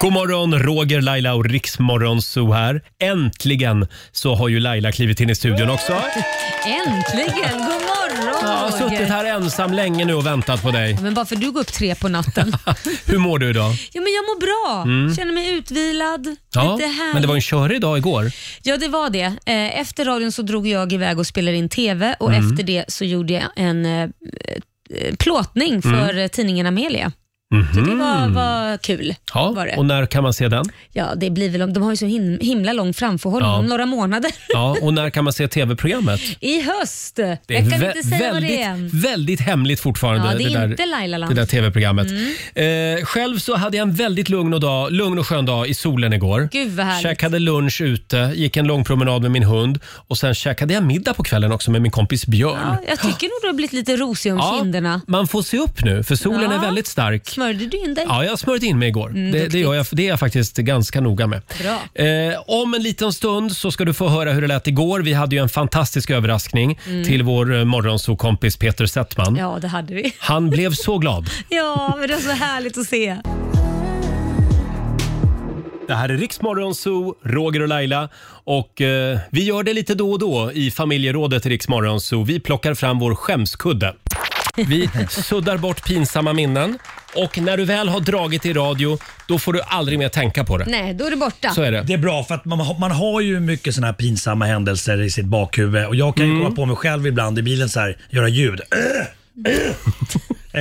God morgon, Roger, Laila och Riksmorgon Zoo här. Äntligen så har ju Laila klivit in i studion också. Äntligen! God morgon Jag har Roger. suttit här ensam länge nu och väntat på dig. Men bara för du går upp tre på natten. Hur mår du idag? ja, men jag mår bra. Känner mig utvilad. Mm. Ja, lite härlig. men det var en körig dag igår. Ja, det var det. Eh, Efter radion så drog jag iväg och spelade in TV och Mm. efter det så gjorde jag en eh, eh, Mm. plåtning för eh, tidningen Amelia. Så det var, var kul. Mhm. Ja, Var det. och när kan man se den? Ja, det blir väl, de har ju så him himla lång framförhållning, Ja. om några månader. Ja, och när kan man se tv-programmet? I höst. Det jag kan vä- inte säga vad det är. väldigt, väldigt hemligt fortfarande. Ja, det är där, inte Laila Mm. det Land. där tv-programmet. Eh, själv så hade jag en väldigt lugn och, dag, lugn och skön dag i solen igår. Gud vad härligt. Käkade lunch ute, gick en lång promenad med min hund och sen käkade jag middag på kvällen också med min kompis Björn. Ja, jag tycker nog du har blivit lite rosig om kinderna. man får se upp nu för solen Ja. är väldigt stark. Smörjde du in dig? Ja, jag har smörjt in mig igår. det, det, duktigt. gör jag, det är jag faktiskt ganska noga med. Bra. Eh, om en liten stund så ska du få höra hur det lät igår. Vi hade ju en fantastisk överraskning till vår eh, morgonsokompis Peter Settman. Mm. Ja, det hade vi. Han blev så glad. Ja, men det är så härligt att se. Det här är Riksmorgon Zoo, Roger och Laila. Och eh, vi gör det lite då och då i familjerådet i Riksmorgon Zoo. Vi plockar fram vår skämskudde. Vi suddar bort pinsamma minnen. Och när du väl har dragit i radio, då får du aldrig mer tänka på det. Nej, då är det borta. Så är det. Det är bra för att man, har- man har ju mycket såna här pinsamma händelser i sitt bakhuvud och jag kan Mm. ju komma på mig själv ibland i bilen så här, göra ljud. Äh, äh,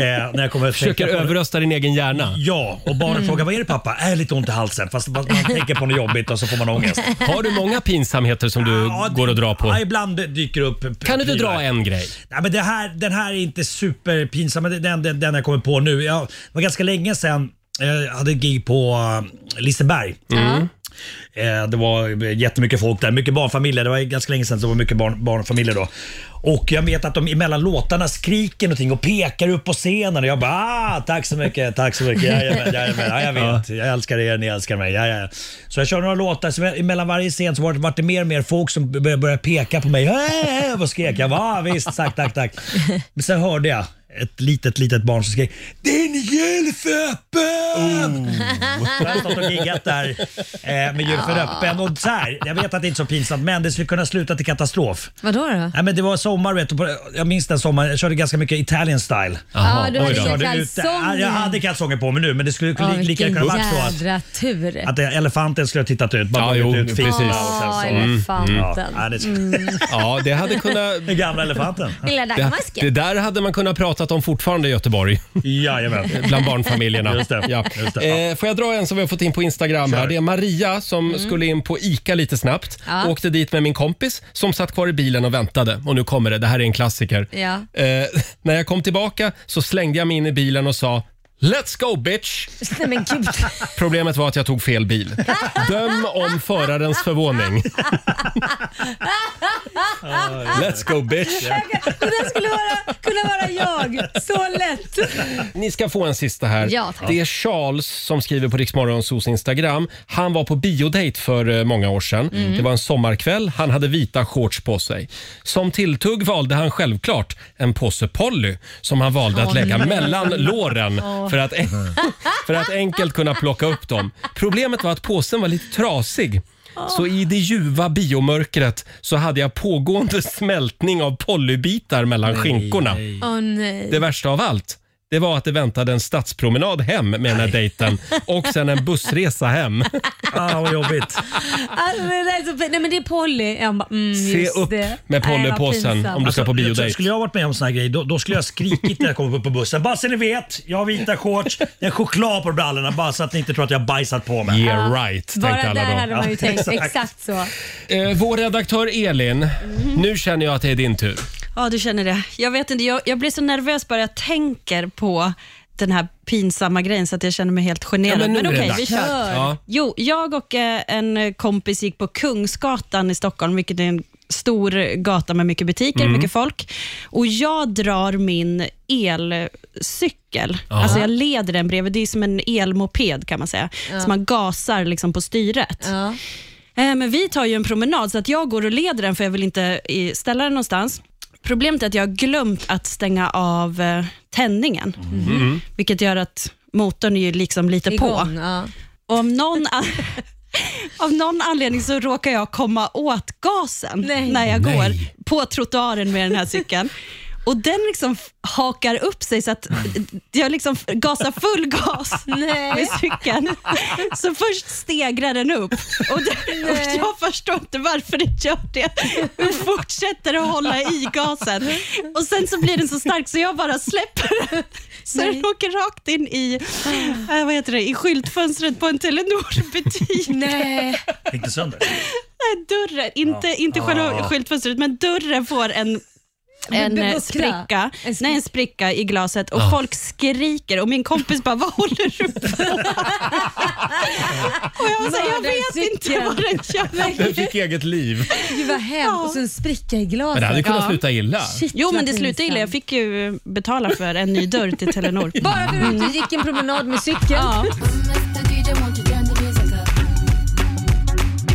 eh, när jag kommer att Försöker tänka på det. överrösta din egen hjärna. Ja, och barnen frågar vad är det pappa? Är lite ont i halsen. Fast man man tänker på något jobbigt och så får man ångest. Har du många pinsamheter som du Ja, det- går och drar på? Ja, ibland dyker det upp. p- Kan du inte prylar. dra en grej? Nej, men det här, den här är inte superpinsam, men den, den, den jag kommer på nu. Jag det var ganska länge sedan eh, jag hade ett gig på eh, Liseberg. Mm. Eh, Det var jättemycket folk där, mycket barnfamiljer. Det var ganska länge sedan så det var mycket barn, barnfamiljer då. Och jag vet att de emellan låtarna skriker någonting och pekar upp på scenen och jag bara ah, tack så mycket, tack så mycket, jajamän, jajamän, ja, jag vet, jag älskar er, ni älskar mig. Ja, ja. Så jag kör några låtar, så emellan varje scen så var det, var det mer och mer folk som började, började peka på mig "Hey!" och skrek. Jag bara ah, visst, tack, tack, tack. Men sen hörde jag ett litet, litet barn som skrek “Din gylf är öppen!” Jag har stått och giggat där eh, med gylfen öppen. Och så här, jag vet att det är inte är så pinsamt, men det skulle kunna sluta till katastrof. Vadå då? Nej, men det var sommar, vet du, på- jag minns den sommaren. Jag körde ganska mycket Italian style. Jaha, Ja, du hade oj då. kört- Körde Kalsonger. jag hade kalsonger på mig nu, men det skulle Ja, li, lika vilken gärna kunnat vara så att, jädra tur. att elefanten skulle ha tittat ut. Bara Ja, dragit jo, ut fingrarna precis. och sen Ja, så. Ja, elefanten. nej, det, Mm. Ja, det hade kunnat... den gamla elefanten. Lilla Det, det dagmasken. där hade man kunnat pratat om fortfarande i Göteborg. Jajamän. Bland barnfamiljerna. Just det, Ja. just det, ja. Eh, får jag dra en som vi har fått in på Instagram? här Kör. Det är Maria som skulle in på ICA lite snabbt. Ja. Åkte dit med min kompis som satt kvar i bilen och väntade. Och nu kommer det. Det här är en klassiker. Ja. Eh, när jag kom tillbaka så slängde jag mig in i bilen och sa Let's go bitch! Nej men gud. Problemet var att jag tog fel bil. Döm om förarens förvåning. Let's go bitch! Det där skulle vara, kunna vara jag. Så lätt. Ni ska få en sista här. Ja, tack. det är Charles som skriver på Riksmorgonsos Instagram. Han var på biodate för eh, många år sedan. Mm. Det var en sommarkväll. Han hade vita shorts på sig. Som tilltugg valde han självklart en påse Polly som han valde att lägga mellan låren för, att, för att enkelt kunna plocka upp dem. Problemet var att påsen var lite trasig. Så i det ljuva biomörkret så hade jag pågående smältning av Pollybitar mellan skinkorna. Åh nej. Det värsta av allt det var att det väntade en stadspromenad hem med den här dejten och sen en bussresa hem. Ah, vad jobbigt. Alltså, det där är så, pin- nej men det är Polly. Jag bara, mm, Se just upp det. med Nej, vad Pollypåsen pinsamt. om du ska på Alltså, Jag tror, biodejt. Skulle jag varit med om sån här grej, då, då skulle jag skrikit när jag kom upp på bussen. Bara så ni vet, jag har vita shorts, det är choklad på brallorna bara så att ni inte tror att jag har bajsat på mig. Yeah right, tänkte Ah, Bara alla där då. hade man ju Ja, tänkt. exakt. Exakt Mm. så. Eh, vår redaktör Elin, nu känner jag att det är din tur. Ja, du känner det. Jag vet inte, jag, jag blir så nervös bara jag tänker på den här pinsamma grejen så att jag känner mig helt generad. Ja, men men nu är det okej, dags. vi kör. Kör. Ja. Jo, jag och eh, en kompis gick på Kungsgatan i Stockholm, vilket är en stor gata med mycket butiker, Mm. mycket folk. Och Jag drar min elcykel. Ja. Alltså jag leder den bredvid. Det är som en elmoped kan man säga. Så man gasar liksom på styret. Ja. Eh, Men vi tar ju en promenad, så att jag går och leder den, för jag vill inte eh, ställa den någonstans. Problemet är att jag har glömt att stänga av Mm-hmm. Mm. Mm. eh, tändningen, vilket gör att motorn är ju liksom lite på. Igång. Ja. Och om någon... an- Av någon anledning så råkar jag komma åt gasen Nej. när jag går Nej. på trottoaren med den här cykeln. Och den liksom f- hakar upp sig så att jag liksom f- gasar full gas med cykeln. Så först stegrar den upp och, det, och jag förstår inte varför den gör det. Och fortsätter att hålla i gasen. Och sen så blir den så stark så jag bara släpper den. Så den åker rakt in i, eh, vad heter det, i skyltfönstret på en Telenor-butik. Nej. Gick det sönder? Nej, dörren. Inte, inte själva Ah. skyltfönstret, men dörren får en en buckla. eh, En spricka. spricka. Nej, en spricka i glaset och folk skriker och min kompis bara, vad håller du på med?" Och jag var så här, jag vet inte Mördarcykeln. vad den gör. Den fick eget liv. Gud vad hemskt. Och sen spricka i glaset. Men det hade kunnat Ja. sluta illa. Shit, Jo, vad men det slutade pinsamt. illa. Jag fick ju betala för en ny dörr till Telenor. Bara för att du gick en promenad med cykeln. Ja.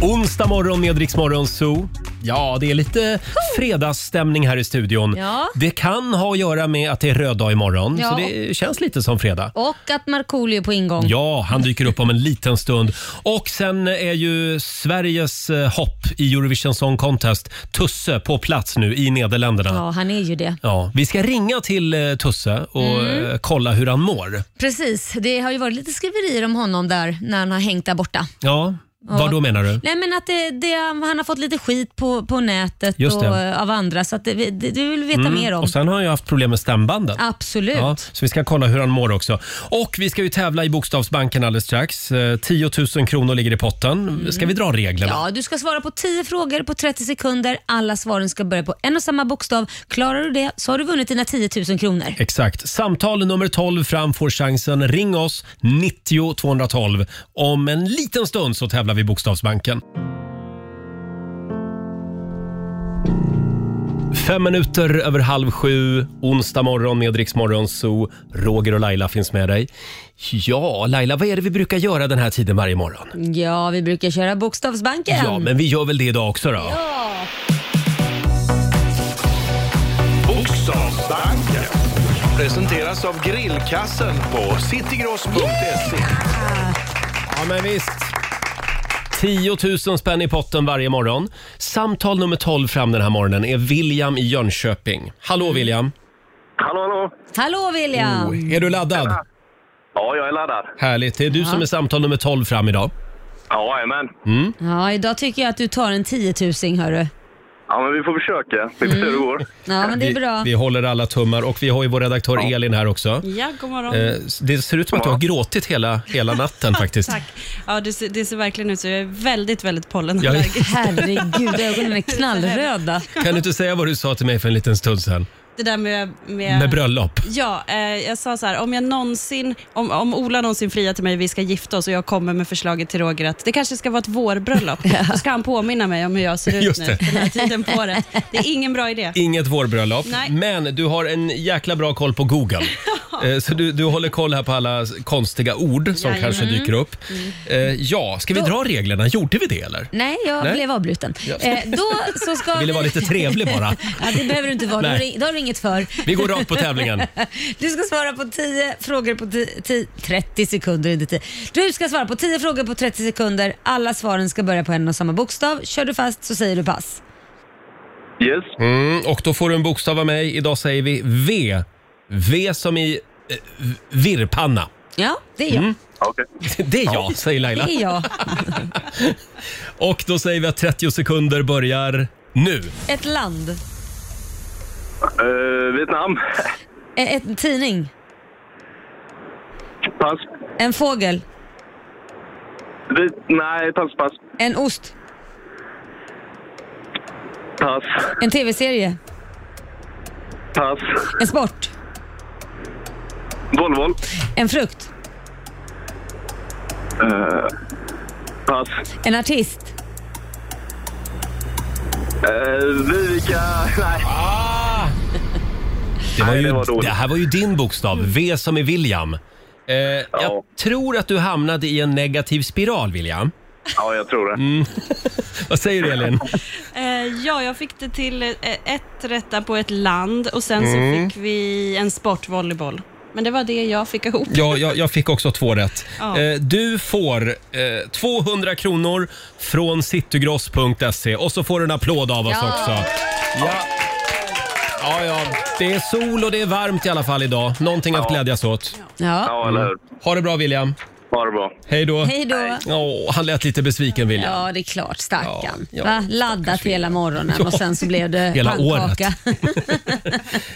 Onsdag morgon med Rix Morgon Zoo. Ja, det är lite fredagsstämning här i studion. Ja. Det kan ha att göra med att det är röd dag imorgon, Ja. så det känns lite som fredag. Och att Markoolio är på ingång. Ja, han dyker upp om en liten stund. Och sen är ju Sveriges eh, hopp i Eurovision Song Contest, Tusse, på plats nu i Nederländerna. Ja. Ja, han är ju det. vi ska ringa till eh, Tusse och Mm. eh, kolla hur han mår. Precis, det har ju varit lite skriverier om honom där när han har hängt där borta. Ja, vad då menar du? Nej men att det, det, han har fått lite skit på, på nätet Just och det. eh, av andra så att det, det, det vill vi veta mer om. Mm. Och sen har han ju haft problem med stämbanden. Absolut. Ja, så vi ska kolla hur han mår också. Och vi ska ju tävla i Bokstavsbanken alldeles strax. Eh, 10 000 kronor ligger i potten. Ska vi dra reglerna? Mm. Ja, du ska svara på 10 frågor på 30 sekunder. Alla svaren ska börja på en och samma bokstav. Klarar du det så har du vunnit dina 10 000 kronor. Exakt. Samtal nummer 12 fram får chansen. Ring oss, 90 212. Om en liten stund så tävlar vi i Bokstavsbanken. Fem minuter över halv sju, onsdag morgon med Rix Morgon Zoo. Roger och Laila finns med dig. Ja, Laila, vad är det vi brukar göra den här tiden varje morgon? Ja, vi brukar köra Bokstavsbanken. Ja, men vi gör väl det idag också då. Bokstavsbanken presenteras av grillkassen på citygross.se. Ja, men visst. 10 000 spänn i potten varje morgon. Samtal nummer 12 fram den här morgonen är William i Jönköping. Hallå William! Hallå, hallå! Hallå William! Är du laddad? Ja, jag är laddad. Härligt. Det är du som är samtal nummer 12 fram idag. Mm. Jajamän. Ja, idag tycker jag att du tar en 10 000 hörru. Ja, men vi får försöka. Vi får se hur det går. Ja, men det är bra. Vi, vi håller alla tummar och vi har ju vår redaktör Elin här också. ja, god morgon. Eh, Det ser ut som att du har gråtit hela, hela natten faktiskt. Tack. Ja, det, ser, det ser verkligen ut så. Jag är väldigt, väldigt Jag, pollenallergisk. Herregud, ögonen är knallröda. kan du inte säga vad du sa till mig för en liten stund sedan? Det där med... Med bröllop? Ja, eh, jag sa så här, om, jag någonsin, om, om Ola någonsin friar till mig vi ska gifta oss och jag kommer med förslaget till Roger att det kanske ska vara ett vårbröllop, då ska han påminna mig om hur jag ser ut Just nu, det. den här tiden på året. Det är ingen bra idé. Inget vårbröllop, Nej. men du har en jäkla bra koll på Google. Eh, Så du, du håller koll här på alla konstiga ord som Jajamän. kanske dyker upp. Eh, Ja, ska vi dra reglerna? Gjorde vi det eller? Mm. Nej, jag Nej. blev avbruten. Eh, då så ska Ville vi... vara lite trevlig bara. Ja, det behöver du inte vara. Det har Nej. du- Det har du inget för. Vi går rakt på tävlingen. Du ska svara på 10 frågor på 10 10 30 sekunder. Inte 10. Du ska svara på 10 frågor på 30 sekunder. Alla svaren ska börja på en och samma bokstav. Kör du fast så säger du pass. Yes. Mm, och då får du en bokstav av mig. Idag säger vi V. V som i eh, virrpanna. Mm. Ja, det är jag. Okej. Det är jag, säger Laila. Det är jag. Och då säger vi att 30 sekunder börjar nu. Ett land. Eh, Vietnam. E- En tidning. Pass. En fågel. Vit... Nej, pass, pass. En ost. Pass. En tv-serie. Pass. En sport. Volvo. En frukt. Eh, pass. En artist. Eh, Vivica. Nej. Ah, Det, var Nej, ju, det var det, dåligt. här var ju din bokstav, V som i William. Eh, Jag tror att du hamnade i en negativ spiral, William. Mm. Ja, jag tror det. Vad säger du, Elin? Eh, ja, jag fick det Mm. till eh, ett rätta på ett land och sen så fick vi en sportvolleyboll. Men det var det jag fick ihop. Ja, jag, jag fick också två rätt. Ja. Eh, Du får eh, 200 kronor från citygross.se och så får du en applåd av oss Ja. också. Ja. Ja, ja. Det är sol och det är varmt i alla fall idag. Någonting att glädjas åt. Ja. Ja, eller hur? Ha det bra William. Ha det bra. Hej då. Hej då. Åh, han lät lite besviken William. Ja, det är klart. Stackarn. Ja, ja, Va? Laddat hela morgonen och sen så blev det Hela pannkaka.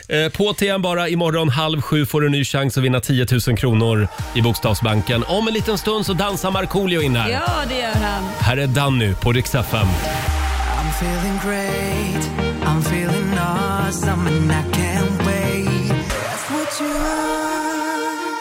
Eh, På TM bara imorgon halv sju får du en ny chans att vinna 10 000 kronor i Bokstavsbanken. Om en liten stund så dansar Markoolio in här. ja, det gör han. Här är Danny på Rix FM. I'm feeling great. I'm feeling awesome and I can't wait. That's what you are.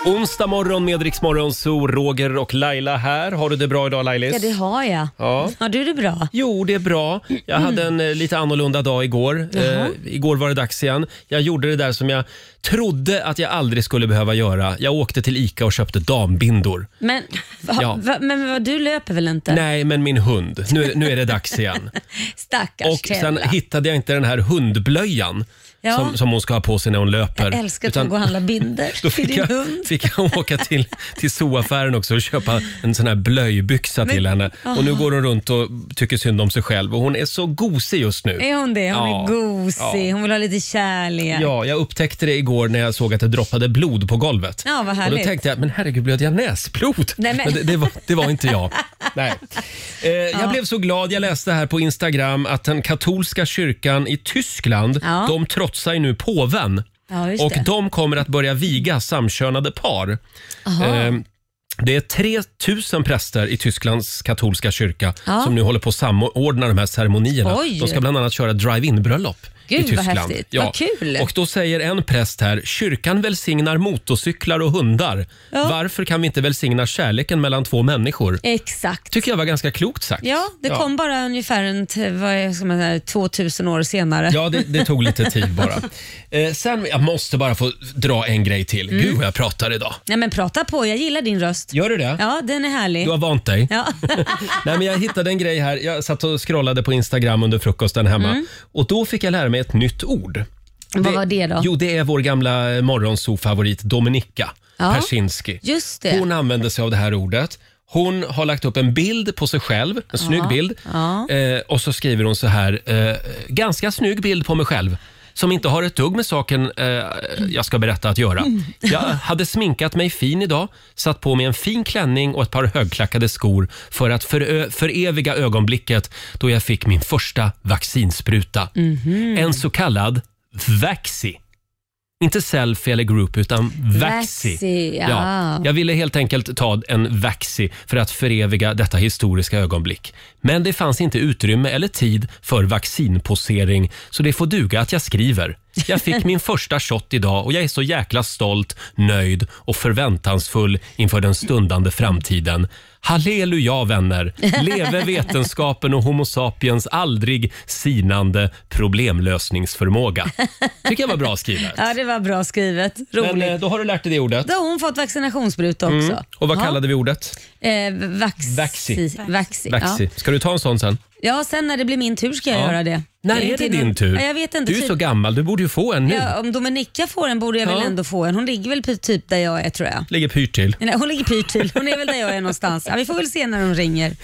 Onsdag morgon med Rix Morgon, så Roger och Laila här. Har du det bra idag Lailis? Ja, det har jag. Ja. Har du det bra? Jo, det är bra. Jag hade en eh, lite annorlunda dag igår. Eh, igår var det dags igen. Jag gjorde det där som jag trodde att jag aldrig skulle behöva göra. Jag åkte till ICA och köpte dambindor. Men, va, Ja. va, men vad, du löper väl inte? Nej, men min hund. Nu, nu är det dags igen. Stackars Och sen Tella. hittade jag inte den här hundblöjan Ja. som, som hon ska ha på sig när hon löper. Jag älskar att Utan du går och handlar binder Då till fick din jag, hund. fick jag åka till, till zooaffären också och köpa en sån här blöjbyxa till henne. Och nu går hon runt och tycker synd om sig själv och hon är så gosig just nu. Är hon det? Hon Ja. är gosig. Ja. Hon vill ha lite kärlek. Ja, jag upptäckte det igår när jag såg att det droppade blod på golvet. Ja, vad härligt. Och då tänkte jag, men herregud, blödde jag näsblod? Nej, men... men- det, det, var, det var inte jag. Nej. Eh, jag blev så glad, jag läste här på Instagram att den katolska kyrkan i Tyskland, Ja. de trotsar ju nu påven. Ja, just Och det. de kommer att börja viga samkönade par. Eh, Det är 3 000 präster i Tysklands katolska kyrka Ja. som nu håller på att samordna de här ceremonierna. Oj. De ska bland annat köra drive-in-bröllop i Gud, vad Tyskland. häftigt. Vad kul. Och då säger en präst här, kyrkan välsignar motorcyklar och hundar. Varför kan vi inte välsigna kärleken mellan två människor? Exakt. tycker jag var ganska klokt sagt. Ja, det kom bara ungefär en, t- vad ska man säga, 2000 år senare. Ja, det, det tog lite tid bara. Eh, sen, jag måste bara få dra en grej till. Mm. Gud vad jag pratar idag. Nej men prata på, jag gillar din röst. Gör du det? Ja, den är härlig. Du har vant dig. Ja. Nej, men jag hittade en grej här. Jag satt och scrollade på Instagram under frukosten hemma Mm. och då fick jag lära mig ett nytt ord. Vad var det då? Jo, det är vår gamla morgonso-favorit Dominika Ja. Persinski. Just det. Hon använde sig av det här ordet. Hon har lagt upp en bild på sig själv, en snygg bild. Ja. Eh, och så skriver hon så här, eh, ganska snygg bild på mig själv som inte har ett dugg med saken eh, jag ska berätta att göra. Jag hade sminkat mig fin idag, satt på mig en fin klänning och ett par högklackade skor för att förö- föreviga ögonblicket då jag fick min första vaccinspruta. En så kallad vaxi. Inte selfie eller group, utan vaxi. Vaxi, ja. Jag ville helt enkelt ta en vaxi för att föreviga detta historiska ögonblick. Men det fanns inte utrymme eller tid för vaccinposering, så det får duga att jag skriver. Jag fick min första shot idag och jag är så jäkla stolt, nöjd och förväntansfull inför den stundande framtiden. Halleluja vänner! Leve vetenskapen och Homo sapiens aldrig sinande problemlösningsförmåga. Tycker jag var bra skrivet. ja, det var bra skrivet. Men Roligt. eh, då har du lärt dig det ordet. Då har hon fått vaccinationsspruta också. Mm. Och vad Ja. kallade vi ordet? Eh, vaxi. Vaxi. Vaxi. Vaxi. Ja. Ska du ta en sån sen? ja, sen när det blir min tur ska jag Ja. göra det. När Det är det till- din tur? Ja, jag vet inte. Du är ju Typ- så gammal, du borde ju få en nu. ja, om Dominika får en borde jag Ja. väl ändå få en. Hon ligger väl p- typ där jag är tror jag. Ligger pyrt till. Nej, hon ligger pyrt till. Hon är väl där jag är någonstans. Ja, vi får väl se när hon ringer.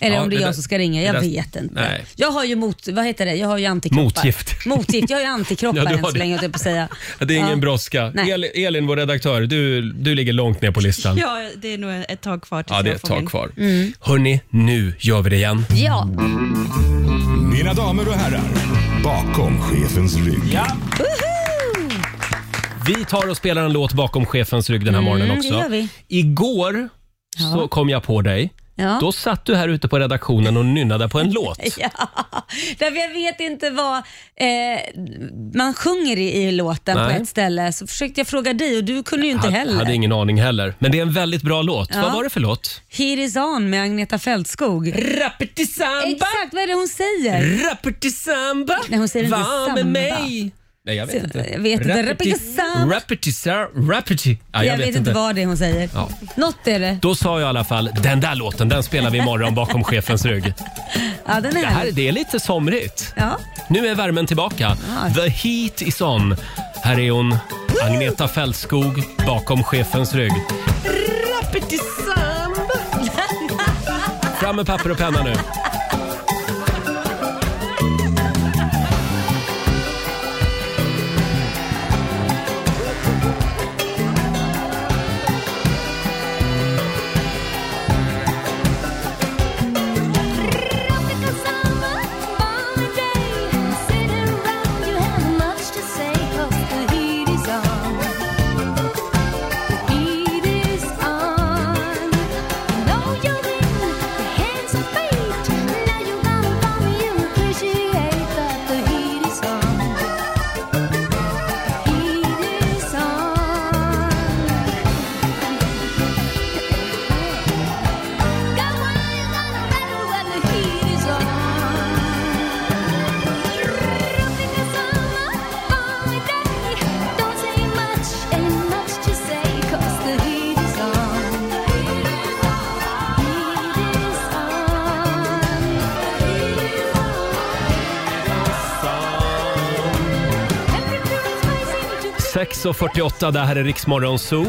Eller Ja, om det är det jag där- som ska ringa. det Jag där- vet inte. Nej. Jag har ju mot, vad heter det? Jag har ju antikroppar. Motgift. Motgift. Jag har ju antikroppar Ja, du har än så det. länge, höll jag på att säga. Det är ingen ja. brådska. Nej. El, Elin, vår redaktör, du, du ligger långt ner på listan. Ja, det är nog ett tag kvar tills Ja, det är jag ett får tag min. kvar. Mm. Hörni, nu gör vi det igen. Ja, Mina damer och herrar, bakom chefens rygg. Vi tar och spelar en låt bakom chefens rygg den här morgonen Mm, det också. gör vi. Igår så kom jag på dig. Ja. Då satt du här ute på redaktionen och nynnade på en låt. därför jag vet inte vad eh, man sjunger i, i låten Nej. på ett ställe. Så försökte jag fråga dig och du kunde ju inte Hade- heller. Hade ingen aning heller. Men det är en väldigt bra låt. Ja. Vad var det för låt? Here is on med Agneta Fältskog. Rappetisamba! Exakt, vad är det hon säger? Rappetisamba! Nej, hon säger inte Var samba. med mig! Nej, jag vet inte. Jag vet inte. Rappetisamba. Rappetisamba. Rappeti. Ja, Jag, vet inte vad det är hon säger. Ja. Något är det. Då sa jag i alla fall, den där låten den spelar vi imorgon bakom chefens rygg. Ja, den är Det här härlig. det är lite somrigt. Ja. Nu är värmen tillbaka. Ja. The heat is on. Här är hon, Agneta Fältskog bakom chefens rygg. Fram med papper och penna nu. Thank you 6.48, det här är Riksmorgon Zoo.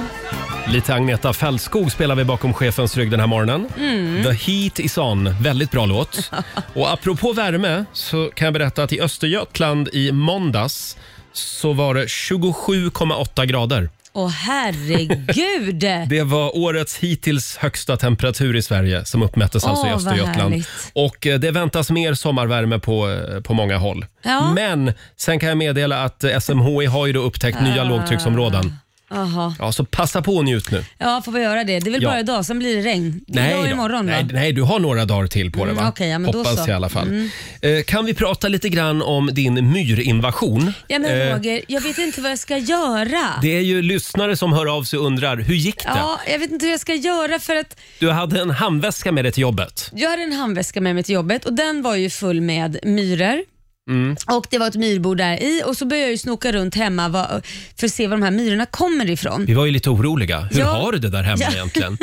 Lite Agneta Fältskog spelar vi bakom chefens rygg den här morgonen. Mm. The Heat Is On, väldigt bra låt. Och apropå värme så kan jag berätta att i Östergötland i måndags så var det 27,8 grader. Åh herregud! Det var årets hittills högsta temperatur i Sverige som uppmättes alltså Åh, i vad Östergötland. härligt. Och eh, det väntas mer sommarvärme på, eh, på många håll. Ja. Men sen kan jag meddela att eh, SMHI har ju då upptäckt nya Ah. lågtrycksområden. Jaha. Ja, så passa på och njut nu. Ja, får vi göra det? Det är väl Ja. bara idag, sen blir det regn. idag och då. imorgon va? nej, nej, du har några dagar till på det Mm, va? okej, ja, men då Hoppas så. Mm. i alla fall. Eh, kan vi prata lite grann om din myrinvasion? Ja, men Eh, Roger, jag vet inte vad jag ska göra. det är ju lyssnare som hör av sig och undrar, hur gick det? Ja, jag vet inte hur jag ska göra för att Du hade en handväska med dig till jobbet. jag hade en handväska med mig till jobbet och den var ju full med myror. Mm. Och Det var ett myrbord där i och så började jag ju snoka runt hemma vad, för att se var de här myrorna kommer ifrån. Vi var ju lite oroliga. Hur Ja. har du det där hemma Ja. egentligen?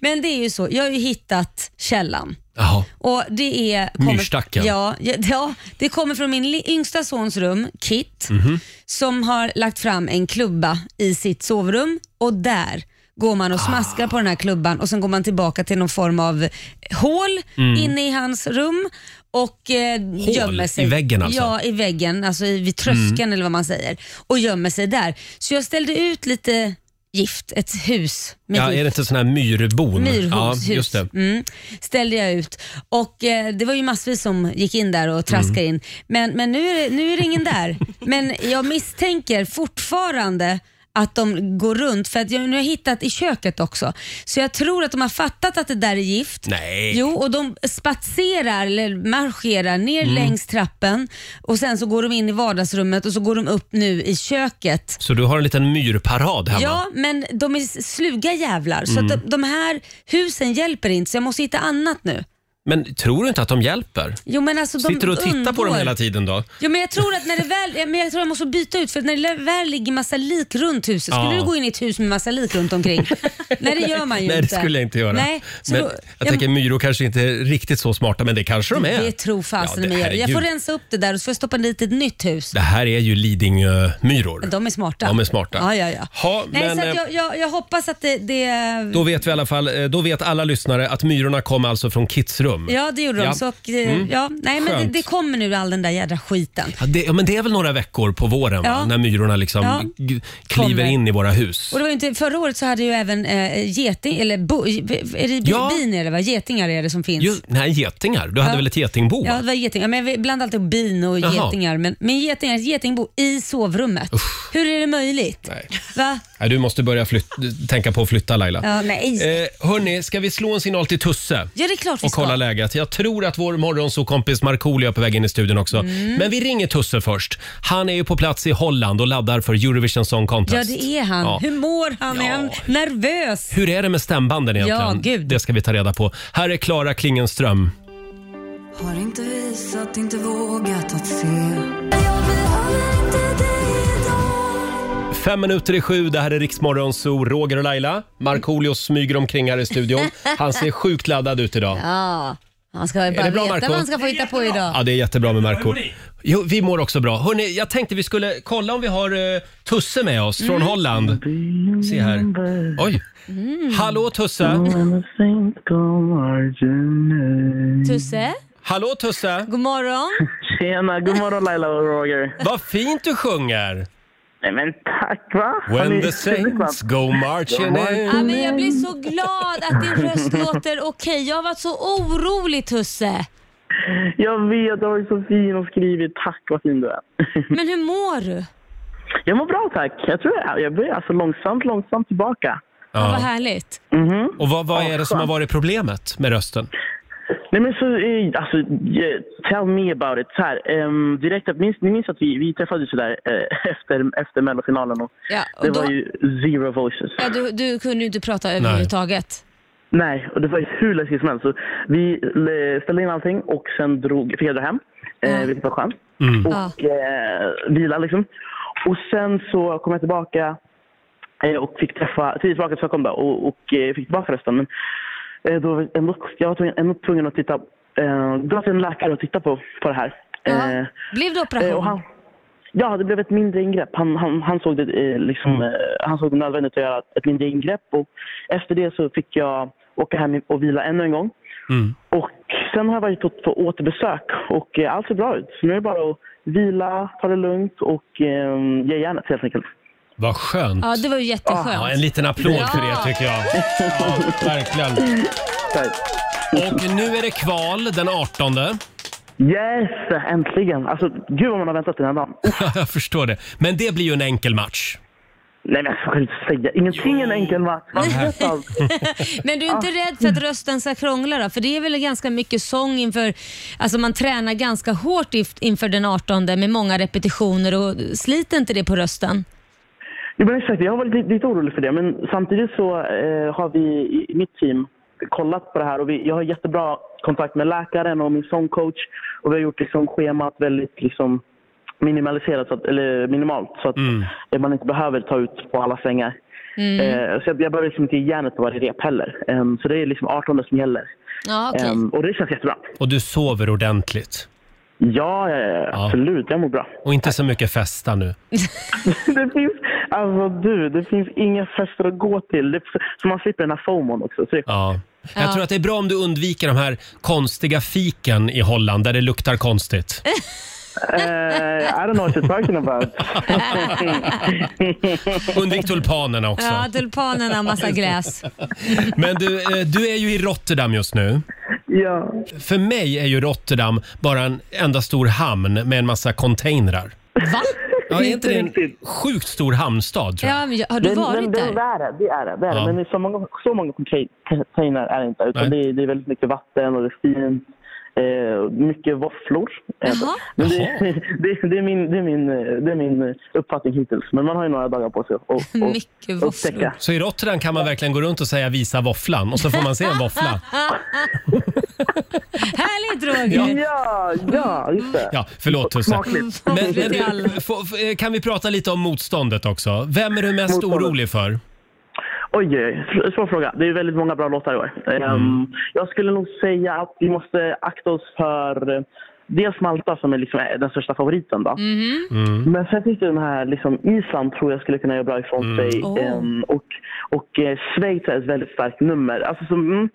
Men det är ju så, jag har ju hittat källan. Jaha. Och det är, Myrstacken. Ja, ja, ja, det kommer från min li- yngsta sons rum, Kit, som har lagt fram en klubba i sitt sovrum och där går man och smaskar på den här klubban och sen går man tillbaka till någon form av hål inne i hans rum och eh, gömmer sig. Mm. i väggen alltså? Mm. Ja, i väggen, alltså i, vid tröskeln eller vad man säger och gömmer sig där. Så jag ställde ut lite gift, ett hus med Ja, gift är det inte sån här myrbon? ja, myrhus just det. Mm, ställde jag ut. Och eh, Det var ju massvis som gick in där och traskade Mm. in. Men, men nu, är det, nu är det ingen där. Men jag misstänker fortfarande att de går runt, för att jag, nu har jag hittat i köket också. Så jag tror att de har fattat att det där är gift. Nej. Jo, och de spatserar eller marscherar ner Mm. längs trappen och sen så går de in i vardagsrummet och så går de upp nu i köket. Så du har en liten myrparad hemma? Mm. Ja, men de är sluga jävlar. Så att de, de här husen hjälper inte, så jag måste hitta annat nu. Men tror du inte att de hjälper? Jo, men alltså, de Sitter du och tittar på dem undgår. hela tiden då? Jo, men jag tror att när det väl, ja, men jag tror jag måste byta ut för när det väl ligger massa lik runt huset, skulle Ja. du gå in i ett hus med massa lik runt omkring? Nej, det gör man ju Nej, det inte. skulle jag inte göra. Nej, så men då, jag tänker myror kanske inte är riktigt så smarta, men det kanske de är. det tror fasen Ja, det- mig. Jag- Jag får herregud. rensa upp det där och så får jag stoppa dit ett nytt hus. Det här är ju Lidingö-myror. De är smarta. De är smarta. Ja, ja, ja. Ha, Nej, men, så eh, att jag, jag, jag hoppas att det... det Då vet vi i alla fall, eh, då vet alla lyssnare att myrorna kom alltså från Kits rum. Ja, det gjorde de. Ja. Mm. Så, och, eh, ja, nej, men det, Skönt. det kommer nu all den där jädra skiten. Ja, det, ja, men det är väl några veckor på våren va? Ja. när myrorna liksom Ja. g- kliver Kommer. in i våra hus. Och det var ju inte, förra året så hade ju även eh, geting, eller bo, är det bi- Ja. bin är det va? Getingar är det som finns. Ju, nej, getingar. Du hade Ja. väl ett getingbo? Ja, va? det var getingar. Men vi blandade alltid ihop bin och Jaha. getingar. Men, men getingar, ett getingbo i sovrummet. Hur är det möjligt? Nej. Va? Nej, du måste börja flyt- tänka på att flytta Laila. Ja, nej. Eh, hörni, ska vi slå en signal till Tusse? Ja, det är klart vi och ska. kolla läget. Jag tror att vår morgonsåkompis Markoolio är på väg in i studion också. Mm. Men vi ringer Tusse först. Han är ju på plats i Holland och laddar för Eurovision Song Ja, Contest. det är han. Ja. Hur mår han? Är Ja. han nervös? Hur är det med stämbanden egentligen? Ja, gud. Det ska vi ta reda på. Här är Klara Klingenström. Har inte visat, inte vågat att se Fem minuter i sju, det här är Riksmorgon Zoo, Roger och Laila. Markoolio smyger omkring här i studion. Han ser sjukt laddad ut idag. Ja. Han ska bara bra, veta Marco? vad han ska få hitta på idag. Ja, det är jättebra med Marco. Hur mår ni? Jo, vi mår också bra. Hörrni, jag tänkte vi skulle kolla om vi har eh, Tusse med oss Mm. från Holland. Se här. Oj! Hallå Tusse! Tusse, Hallå Tusse! god morgon. Tjena, god morgon Laila och Roger. Vad fint du sjunger! Nej men tack va! Har When ni- the saints go marching Ja, in. men jag Mm. blir så glad att din röst låter okej. Jag har varit så orolig Tusse. Jag vet, du har ju så fin och skrivit. Tack vad fin du är. Men hur mår du? Jag mår bra tack. Jag tror jag, jag börjar alltså långsamt, långsamt tillbaka. Mhm. Ja. Vad Ja. härligt. Och vad, vad är det som har varit problemet med rösten? Nej men så, eh, alltså, yeah, tell me about it. Så här, ehm, direkt, att- minns, ni minns att vi, vi träffades ju där eh, efter, efter mellofinalen och Ja, det och då, var ju zero voices. ja, du, du kunde ju inte prata överhuvudtaget. Nej, och det var ju hur läskigt som helst. Så vi eh, ställde in allting och sen drog, fick jag dra hem, eh, Ja. vilket var skönt. Ja. och eh, vila liksom. Och sen så kom jag tillbaka eh, och fick träffa, tidigt tillbaka till Stockholm då, och, och eh, fick tillbaka rösten. Men eh, då var jag ändå, jag var tvungen, ändå tvungen att titta, eh, dra till en läkare och titta på, på det här. Ja. Eh, Blev det eh, och operation? han, ja, det blev ett mindre ingrepp. Han, han, han, såg det, eh, liksom, eh, han såg det nödvändigt att göra ett mindre ingrepp och efter det så fick jag åka hem och vila ännu en gång. Mm. Och sen har jag varit på- på återbesök och eh, allt ser bra ut. Så nu är det bara att vila, ta det lugnt och eh, ge järnet helt enkelt. Vad skönt! Ja, det var ju Ja, jätteskönt. en liten applåd för det Ja. tycker jag. Ja, verkligen. Tack. Och nu är det kval den 18. Yes, äntligen! Alltså, gud vad man har väntat den här dagen. Oh, jag förstår det. Men det blir ju en enkel match. nej men jag kan inte säga. Ingenting är en enkel match. Man vet allt. Men du är inte rädd för att rösten ska krångla då? För det är väl ganska mycket sång inför, alltså man tränar ganska hårt if- inför den 18 med många repetitioner och sliter inte det på rösten? Jo, men exakt. Jag har varit lite, lite orolig för det, men samtidigt så eh, har vi i i mitt team kollat på det här och vi, jag har jättebra kontakt med läkaren och min sångcoach och vi har gjort liksom schemat väldigt liksom minimaliserat, så att, eller minimalt så att eh, man inte behöver ta ut på alla svängar. Mm. Eh, så jag, jag behöver liksom inte ge järnet på varje rep heller. Em, så det är liksom 18 som gäller. Ja, okej. Em, och det känns jättebra. Och du sover ordentligt. Ja, eh, absolut. Jag mår bra. Och inte så mycket festa nu. Det finns, alltså du, det finns inga fester att gå till. Det, så man slipper den här FOMOn också. Så det, Ja. Jag tror att det är bra om du undviker de här konstiga fiken i Holland där det luktar konstigt. eh, I don't know what you're talking about. Undvik tulpanerna också. Ja, tulpanerna och massa gräs. Men du, eh, du är ju i Rotterdam just nu. ja. För mig är ju Rotterdam bara en enda stor hamn med en massa containrar. Va? Ja, är inte det en riktigt. sjukt stor hamnstad? Tror jag? Ja, men jag- har du varit det, där? är det, det är det. det, är det. Ja. Men det är så många, så många containrar är det inte. Utan Nej. det är, det är väldigt mycket vatten och det är fint. Eh, mycket våfflor. Eh, Jaha. Men det, Jaha. det, det, är min, det, är min, eh, det är min uppfattning hittills. Men man har ju några dagar på sig att- att att Mycket våfflor. upptäcka. Så i Rotterdam kan man verkligen gå runt och säga visa våfflan och så får man se en våffla. Härligt Roger! Ja, ja, just det. Ja, förlåt Tusse. Smakligt. Men, men Våfflor till alla. du, få- f- eh, kan vi prata lite om motståndet också? Vem är du mest Motståndet. orolig för? Oj, oj, oj. Sv- svår fråga. Det är väldigt många bra låtar i år. Ehm, jag skulle nog säga att vi måste akta oss för eh, dels Malta som är liksom eh, den största favoriten. Då. Mhm. Men sen finns det den här liksom, Island tror jag skulle kunna göra bra ifrån sig. Oh. Ehm, och och eh, Schweiz är ett väldigt starkt nummer. Alltså, så, mm,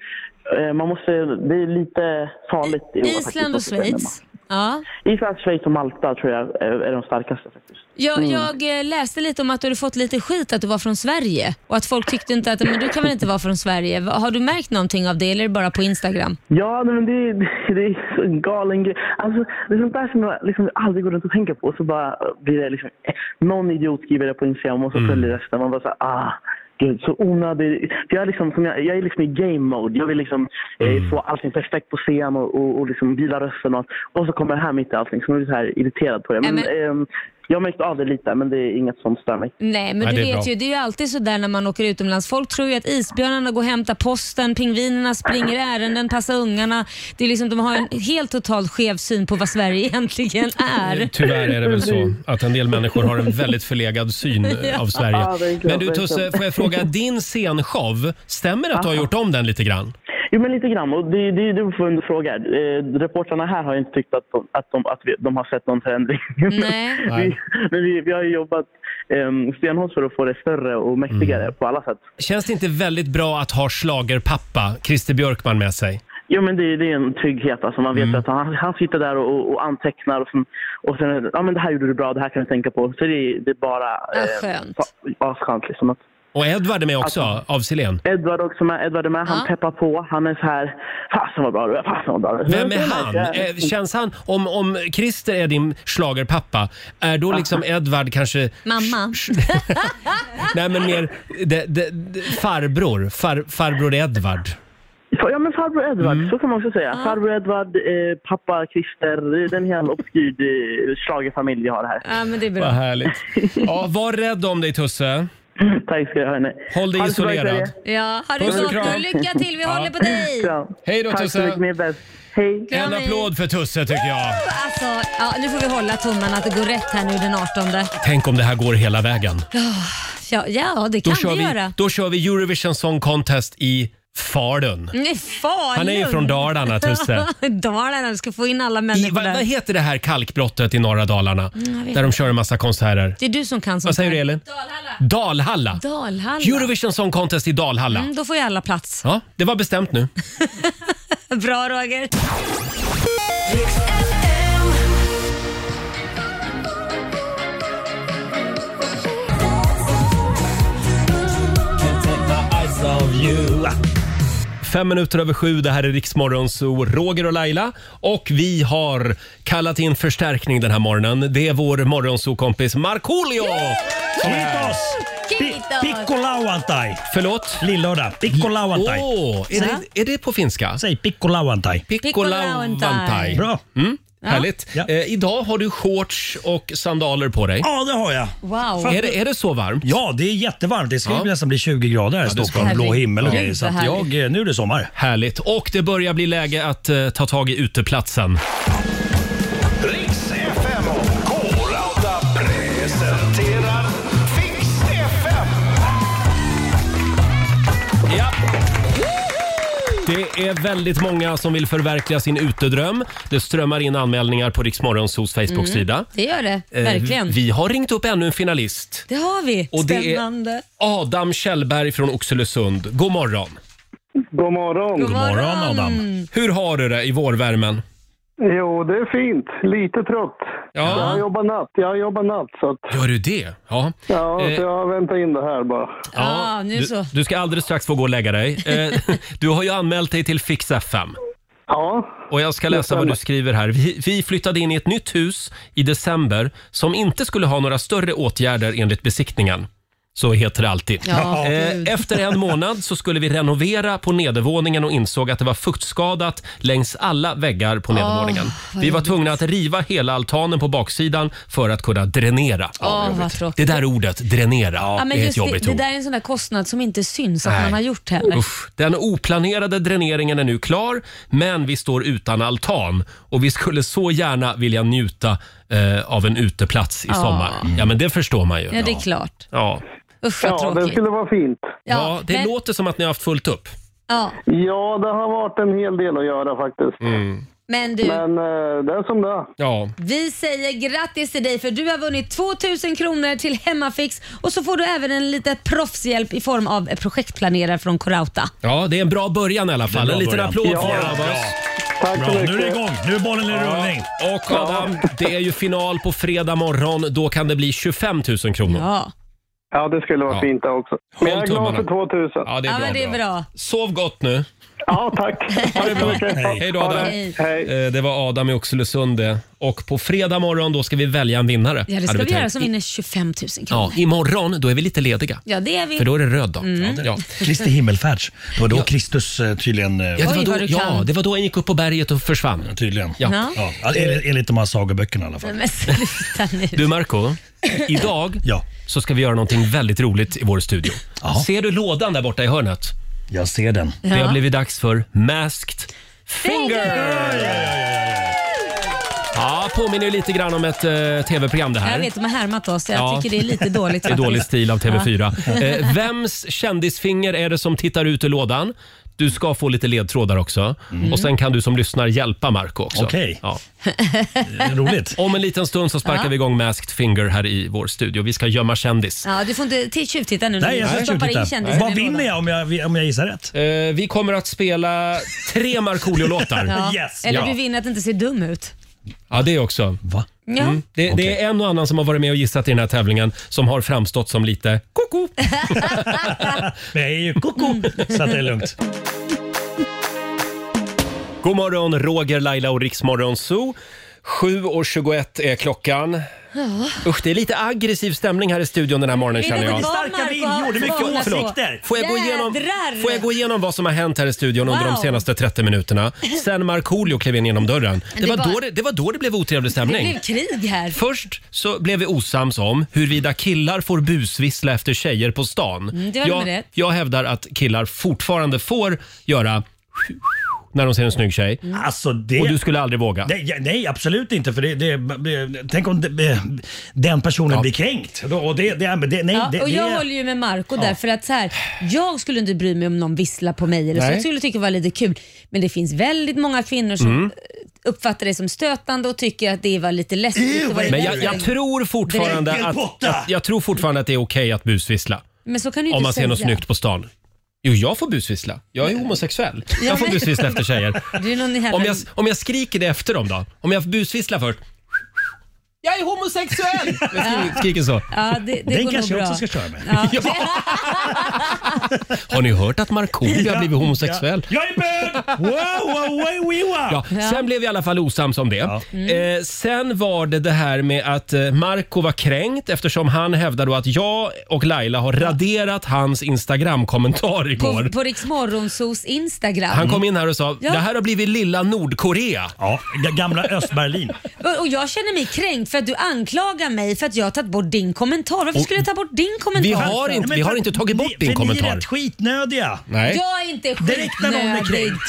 eh, man måste, det är lite farligt i år. faktiskt, Island och måste jag säga. Schweiz. Ja. Island, Schweiz och Malta tror jag är, är de starkaste. faktiskt. Jag, jag eh, läste lite om att du hade fått lite skit att du var från Sverige och att folk tyckte inte att men du kan väl inte vara från Sverige. Va- Har du märkt någonting av det eller är det bara på Instagram? Ja, nej, men det, det, det är så en galen grej. Alltså, det är sånt där som jag liksom aldrig går runt och tänker på. Och så bara blir det liksom, eh, någon idiot skriver det på Instagram och så följer resten. Man bara så här, ah, gud, så onödig. För jag, är liksom, som jag, jag är liksom i game mode. Jag vill liksom eh, få allting perfekt på scen och, och, och liksom vila rösten och allt. Och så kommer det här mitt i allting. Så man blir så här irriterad på det. Men, Nej, ehm, jag har märkt av det lite, men det är inget som stör mig. Nej, men Nej, du det är vet bra. ju, det är ju alltid så där när man åker utomlands. Folk tror ju att isbjörnarna går och hämtar posten, pingvinerna springer ärenden, passar ungarna. Det är liksom, de har en helt totalt skev syn på vad Sverige egentligen är. Eh, Tyvärr är det väl så att en del människor har en väldigt förlegad syn eh, av Sverige. Ja, verkligen, Men du Tusse, verkligen. får jag fråga, din scenshow, stämmer det att du har gjort om den lite grann? Jo, men lite grann. Och det, det, det är för fråga. Eh, reportrarna här har ju inte tyckt att de, att de, att vi, de har sett någon förändring. Nej. vi, men vi, vi har ju jobbat eh, stenhårt för att få det större och mäktigare Mm. på alla sätt. Känns det inte väldigt bra att ha schlagerpappa Christer Björkman med sig? Jo, men det, det är en trygghet. Alltså, man vet Mm. att han, han sitter där och, och antecknar och sen, och sen ja, men det här gjorde du bra, det här kan du tänka på. Så det, det är bara ehm, Ja, skönt. fa- asskönt. Liksom. Att Och Edvard är med också, Alltså. av Silén. Edvard också med, Edvard är med, han Ja. peppar på. Han är så här, fasen vad bra du är, fasen vad bra du Vem är han? Eh, Känns han, om, om Christer är din schlagerpappa, är då liksom Edvard kanske... Mamma. Nej men mer de, de, de, farbror, Far, farbror Edvard. Fa- Ja men farbror Edvard, Mm. så kan man också säga. Farbror Edvard, eh, pappa Christer, det är en hel obskyr eh, schlagerfamilj vi har här. Ja, men det är Vad bra. härligt. Ja, var rädd om dig Tusse. Tack ska du ha hörni. Håll dig Ha det så bra i isolerad. Sverige. Ja, har du Puss och gott kram. nu. Lycka till, vi håller på dig. Kram. Hej då, Tack så Tusse. mycket, ni är bäst. Hej. En Kram, hej. applåd för Tusse tycker jag. Alltså, ja, nu får vi hålla tummarna att det går rätt här nu den 18. Tänk om det här går hela vägen. Ah, Ja, ja det Då, kan kör, vi vi, göra. då kör vi Eurovision Song Contest i Falun. Nej, Falun. Han är ju från Dalarna Tusse. Dalarna, du ska få in alla I, människor vad, vad där. heter det här kalkbrottet i norra Dalarna? Mm, Där de kör en massa konserter. Det är du som kan sånt Vad säger du här. Elin? Dalhalla. Dalhalla. Eurovision Song Contest i Dalhalla. Mm, då får ju alla plats. Ja, det var bestämt nu. Bra Roger. Fem minuter över sju, det här är Riksmorgon, så Roger och Laila. Och vi har kallat in förstärkning den här morgonen. Det är vår morgonsokompis Markoolio! som är här. Kiitos! Kiitos. Pi- Pikku lauantai. Förlåt? Lillördag. Pikku lauantai. Åh, är, det, är det på finska? Säg pikku lauantai. Pikkolauantai. Bra. Mm, Härligt. Ja. Eh, idag har du shorts och sandaler på dig. Ja, det har jag. Wow. Är det, är det så varmt? Ja, det är jättevarmt. Det ska Ja. ju nästan bli 20 grader här i det ska Stockholm. det. Blå himmel och Herregud, grejer. Så vad att härligt. jag, eh, nu är det sommar. Härligt. Och det börjar bli läge att eh, ta tag i uteplatsen. Riks FM och K-Rauta presenterar Fix FM. Ja. Det är väldigt många som vill förverkliga sin utedröm. Det strömmar in anmälningar på Riksmorgonsos Facebook-sida. Mm, Det gör det, Eh, verkligen. Vi har ringt upp ännu en finalist. det har vi. Och det är- Spännande. Adam Kjellberg från Oxelösund. God morgon. God morgon. God morgon. Morgon Adam. Hur har du det i vårvärmen? Jo, det är fint. Lite trött. Ja. Jag har jobbat natt, jag har jobbat natt så att, Gör du det? Ja. ja, Eh. så jag väntar in det här bara. Ja, nu du, så. du ska alldeles strax få gå och lägga dig. Eh, Du har ju anmält dig till Fix FM. Ja, Och jag ska läsa vad du skriver här. Vi, vi flyttade in i ett nytt hus i december som inte skulle ha några större åtgärder enligt besiktningen. Så heter det alltid. Ja, Eh, efter en månad så skulle vi renovera på nedervåningen och insåg att det var fuktskadat längs alla väggar på nedervåningen. Ah, vad vi var jobbigt. tvungna att riva hela altanen på baksidan för att kunna dränera. Åh, Ah, vad tråkigt. Det där ordet, dränera, Ja, men är just ett jobbigt det, det ord. där är en sån där kostnad som inte syns att Nej. man har gjort heller. Usch. Den oplanerade dräneringen är nu klar, men vi står utan altan och vi skulle så gärna vilja njuta eh, av en uteplats i sommar. Ja, men det förstår man ju. Ja, det är klart. Ja. Usch vad ja det tråkigt. skulle vara fint. Ja, det men- låter som att ni har haft fullt upp. ja, Ja, det har varit en hel del att göra faktiskt. men du, Men eh, det är som det är. Mm. Ja. vi säger grattis till dig för du har vunnit 2000 kronor till Hemmafix och så får du även en liten proffshjälp i form av en projektplanerare från Corauta. ja, det är en bra början i alla fall. Det är En en bra liten början. applåd Ja. för er av oss. Tack Bra, så nu är det mycket. igång. Nu är bollen i rullning. Och Adam, det är ju final på fredag morgon. Då kan det bli 25 000 kronor. Ja, Ja, Ja, det skulle vara Ja. fint det också. Men jag är Håll glad för tummarna. 2000. det är, ja bra, men det är bra. Sov gott nu. Ja, tack. Ha det bra. Hej. Hej då Adam. Hej. Hej. Eh, Det var Adam i Oxelösund det. och på fredag morgon då ska vi välja en vinnare. Ja, det hade ska vi tänkt. göra som vinner 25 000 Ja, kronor. imorgon då är vi lite lediga. Ja, det är vi. Mm. För då är det röd dag. Ja. Kristi himmelfärds. Det var då Kristus eh, tydligen... eh, Ja, det var Oj, då, vad du ja, kan. det var då han gick upp på berget och försvann. Tydligen. Ja. Ja, enligt, enligt de här sagoböckerna i alla fall. Men sluta nu. Du Marco, idag Ja. så ska vi göra någonting väldigt roligt i vår studio. Ja. Ser du lådan där borta i hörnet? Jag ser den. Det Ja. har blivit dags för Masked Finger! Ja, påminner ju lite grann om ett eh, tv-program det här. Jag vet, de har härmat oss. Jag Ja. tycker det är lite dåligt Det är faktiskt. Eh, dålig stil av TV4. Eh, vems kändisfinger är det som tittar ut ur lådan? Du ska få lite ledtrådar också. Och sen kan du som lyssnar hjälpa Marco också. Okej. Ja. Roligt. Om en liten stund så sparkar Ja. vi igång Masked Finger här i vår studio. Vi ska gömma kändis. Ja, du får inte t- tjuvtitta nu när Nej, jag du ska stoppar in tjuvtitta. kändisen Vad i lådan. vinner jag om jag, om jag gissar rätt? Eh, vi kommer att spela tre Markoolio-låtar. ja. Ja. Yes. Eller Ja. du vinner att inte se dum ut. det också. Mm. Va? Ja. Det, det är en och annan som har varit med och gissat i den här tävlingen som har framstått som lite koko. Men jag är ju koko, så att det är lugnt. God morgon, Roger, Laila och Riksmorgon Zoo. 7.21 är klockan. Usch, det är lite aggressiv stämning här i studion den här morgonen Vill känner inte jag. vara Starka Marco viljor, det är mycket Hansson. åsikter. Får jag, gå igenom, Jädrar! får jag gå igenom vad som har hänt här i studion under de Wow. senaste 30 minuterna sen Markoolio klev in genom dörren? Det Det var, var- då det, det var då det blev otrevlig Det stämning. blev krig här. Först så blev vi osams om huruvida killar får busvissla efter tjejer på stan. Mm, det var nummer jag, ett. jag hävdar att killar fortfarande får göra när de ser en snygg tjej. Alltså det... Och du skulle aldrig våga. Nej, ja, nej, absolut inte. För det, det, det, tänk om det, den personen blir kränkt. Då- Och det, det, det, nej, Ja, det, och jag det, håller ju med Marco där för att så här, jag skulle inte bry mig om någon visslar på mig eller så. Nej. Jag skulle tycka det var lite kul. Men det finns väldigt många kvinnor som Mm. eh, uppfattar det som stötande och tycker att det var lite läskigt. Ew, och var vad Men lite jag, jag läskigt. tror fortfarande Dräggen att, borta! jag, jag tror fortfarande att det är okej att busvissla Men så kan du ju om inte man ser något säga. snyggt på stan. Jo, jag får busvissla. Jag är homosexuell. Jag får men- busvissla efter tjejer. Det är någon i Om här- jag, om jag skriker det efter dem då? Om jag busvisslar först? Jag är homosexuell! Jag skriker, skriker så. Ja, det, det den går nog kanske jag bra. också ska köra med. Har ni hört att Markoolio har blivit homosexuell? Ja. Jag är bög! Wow, wow, wow, wow. Ja, sen blev vi i alla fall osams om det. Mm. Eh, sen var det det här med att eh, Marco var kränkt eftersom han hävdade då att jag och Laila har raderat hans Instagram-kommentar igår. På, på Rix Morgonzos Instagram. Han kom in här och sa Ja. det här har blivit lilla Nordkorea. Ja, g- gamla Östberlin. Och- Och jag känner mig kränkt för att du anklagar mig för att jag har tagit bort din kommentar. Varför skulle jag ta bort din kommentar? vi har för? inte- Men vi har för- inte tagit bort ni- din för Ni kommentar. är rätt skitnödiga. Nej. Jag är inte Direkt när någon är skitnödig. kränkt.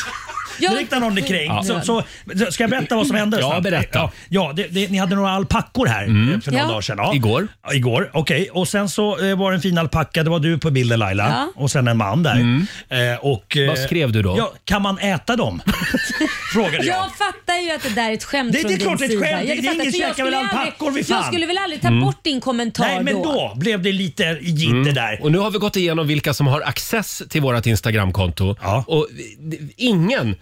Jag- Direkt när någon är kränkt. Så, så, så- ska jag berätta vad som hände? Ja, snabbt? berätta. Mm. Ja, ja, det, det, ni hade några alpackor här eh, för några Ja. dagar sedan. Ja. Igår. Ja, igår, okej. Och sen så eh, var det en fin alpacka. Det var du på bilden Laila. Ja. Och sen en man där. Eh, och, eh, Mm. Vad skrev du då? Ja, kan man äta dem? Frågade jag. Jag fattar ju att det där är ett skämt Det- det är från din klart det är ett sida. skämt. Ja, Det är fattar, ingen för jag käkar väl skulle aldrig- alpackor, för Jag fan. Mm. skulle väl aldrig ta bort din kommentar Nej, men då blev det lite jitter där. Mm. Och nu har vi gått igenom vilka som har access till vårt Instagramkonto. Ja. Och d- ingen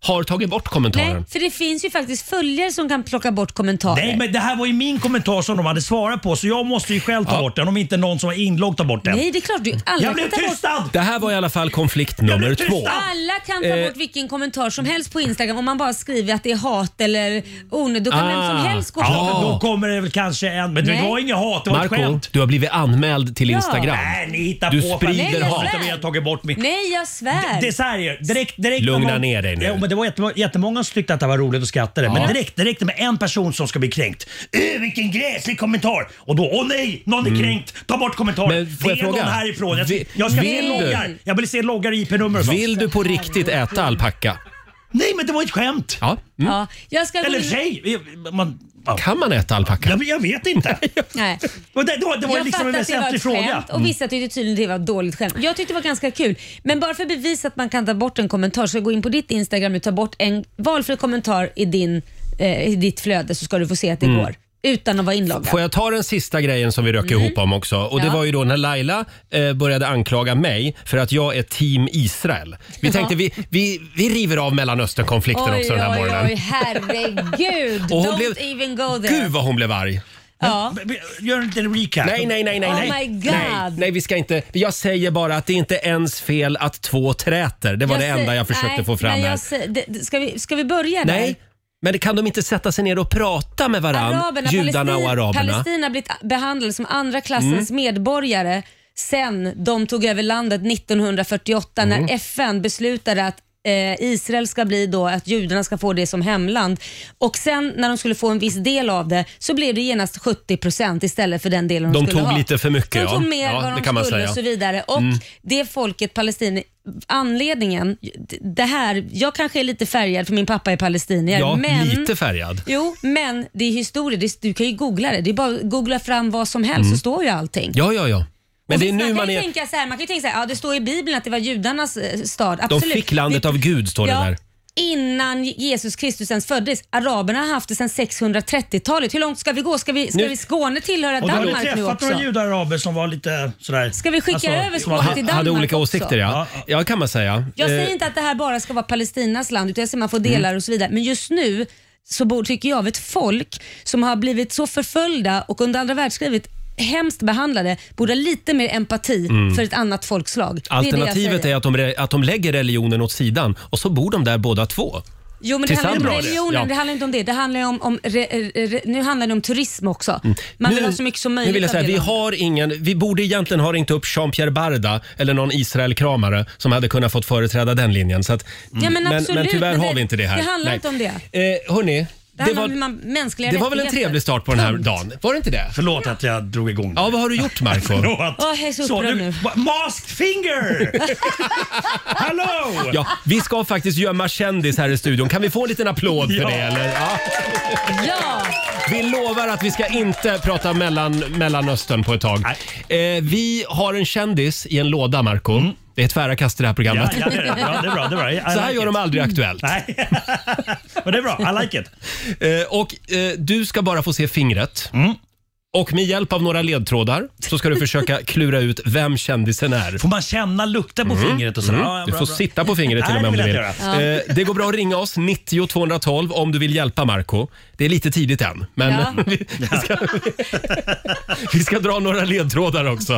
har tagit bort kommentaren. Nej, för det finns ju faktiskt följare som kan plocka bort kommentarer. Nej, men det här var ju min kommentar som de hade svarat på så jag måste ju själv ta bort den om inte någon som var inlogg tar bort den. Nej, det är klart du alla jag kan blev ta bort. tystad! Det här var i alla fall konflikt nummer blev två. Eh. tystad. Alla kan ta bort vilken kommentar som helst på Instagram om man bara skriver att det är hat eller onödigt. Då kan Ah. vem som helst gå Ja. på. Ja, men då kommer det väl kanske en... Men det Nej. var inget hat, det var ett Marco, skämt. du har blivit anmäld till Ja. Instagram. Nej, ni hittar Du på. för sprider att Nej, jag hat. inte vill ha tagit bort min... Nej, jag svär. Det är så här ju, direkt, direkt Lugna när någon- ner dig nu. Ja, men det var jättemånga, jättemånga som tyckte att det var roligt och skrattade. Ja. Men direkt, direkt med en person som ska bli kränkt. Äh, vilken gräslig kommentar! Och då, åh nej, någon är kränkt. Ta bort kommentaren. Mm. Men får jag det är fråga? någon härifrån. Jag, Vi- jag ska vill se du? loggar. Jag vill se loggar i IP-nummer och sånt. Vill du på riktigt äta alpacka? Nej, men det var ett skämt. Ja. Mm. Ja, jag ska gå Eller in- tjej. Man, ja. Kan man äta alpacka? jag, jag vet inte. Nej. Och det, det var, det var jag liksom en fattar att det var väsentlig ett fråga. Mm. skämt och vissa tyckte tydligen det var ett dåligt skämt. Jag tyckte det var ganska kul. Men bara för att bevisa att man kan ta bort en kommentar så gå in på ditt Instagram och ta bort en valfri kommentar i, din, eh, i ditt flöde så ska du få se att det går. Utan att vara inloggad. Mm. Får jag ta den sista grejen som vi rök ihop om också? Och Det Ja. var ju då när Laila eh, började anklaga mig för att jag är team Israel. Vi tänkte vi, vi, vi river av Mellanösternkonflikten också den här oj, morgonen. oj, herregud. Och hon Don't blev- even go there. Gud vad hon blev arg! ja. B- b- Gör inte en recap. Nej, nej, nej, nej. Oh nej. my God. nej, nej, vi ska inte. Jag säger bara att det är inte ens fel att två träter. Det var det säger- enda jag försökte nej, få fram men jag här. säger- det- det- Ska vi, ska vi börja där? Nej, men det kan de inte sätta sig ner och prata med varandra, araberna, judarna Palestin- och araberna? Mm. Palestina har blivit behandlade som andra klassens medborgare sen de tog över landet 1948 Mm. när FN beslutade att eh, Israel ska bli då att judarna ska få det som hemland och sen när de skulle få en viss del av det så blev det genast 70% istället för den delen de, De skulle tog ha. lite för mycket, de ja. tog mer Ja, vad det de kan man skulle säga. Mm. och så vidare och det folket Palestina anledningen, det här, jag kanske är lite färgad för min pappa är palestinier Ja, men lite färgad. Jo, men det är historia. Det, du kan ju googla det. Det är bara att googla fram vad som helst så står ju allting. Ja, ja, ja. Men Och det är visst, nu man man kan ju är... tänka så här, man kan ju tänka så här, ja det står i Bibeln att det var judarnas eh, stad. De Absolut. fick landet Vi- av Gud, står det ja, där. Innan Jesus Kristus ens föddes. Araberna har haft det sedan 630-talet. Hur långt ska vi gå? Ska vi, ska Nu- vi Skåne tillhöra Och du har väl Danmark nu träffat några också? judar och araber som var lite sådär... Alltså, Ska vi skicka över som har- skåpet till Ha, hade Danmark olika också. åsikter, ja. Ja, kan man säga. Jag Eh, säger inte att det här bara ska vara Palestinas land, utan jag säger man får delar och så vidare. Men just nu så bor, tycker jag av ett folk som har blivit så förföljda och under andra världskriget hemskt behandlade, borde ha lite mer empati för ett annat folkslag. Det är det jag Mm. Alternativet är säger. att de, re- att de lägger religionen åt sidan och så bor de där båda två. Jo, men det handlar inte om Tillsammans. religionen, Ja. det handlar inte om det. Det handlar ju om, om re, re, nu handlar det om turism också. Man vill ha så mycket som möjligt Mm. Nu vill jag av säga, det vi, landet. har ingen, vi borde egentligen ha ringt upp Jean-Pierre Barda eller någon Israel-kramare som hade kunnat fått företräda den linjen. Så att, Ja, men, men, absolut, men tyvärr men har vi inte det här. Det handlar Nej. inte om det. Eh, hörni, Det, det handlar om var, man- mänskliga det var väl en rättigheter. trevlig start på den här Punkt. dagen? Var det inte det? Förlåt att jag drog igång. Ja, vad har du gjort Marco? Förlåt. Åh, jag är så upprörd nu. va- Masked finger! Hallå! Ja, vi ska faktiskt gömma kändis här i studion. Kan vi få en liten applåd för Ja. det? Eller? Ja. Ja! Vi lovar att vi ska inte prata mellan, Mellanöstern på ett tag. Eh, vi har en kändis i en låda, Marco. Det är tvära kast i det här programmet. Mm. Ja, ja, det är bra. Det är bra, det är bra. I- I Så här like gör it. de aldrig Aktuellt. Nej. Men det är bra, I like it. Eh, och eh, du ska bara få se fingret. Mm. Och med hjälp av några ledtrådar så ska du försöka klura ut vem kändisen är. Mm. Får man känna lukten på fingret och sådär? Ja, Du bra, får bra. sitta på fingret till och med om Nej, du det vill vill. jag Eh, det går bra att ringa oss, 90 212 om du vill hjälpa Marco. Det är lite tidigt än, men Ja. vi, vi, ska, vi ska dra några ledtrådar också.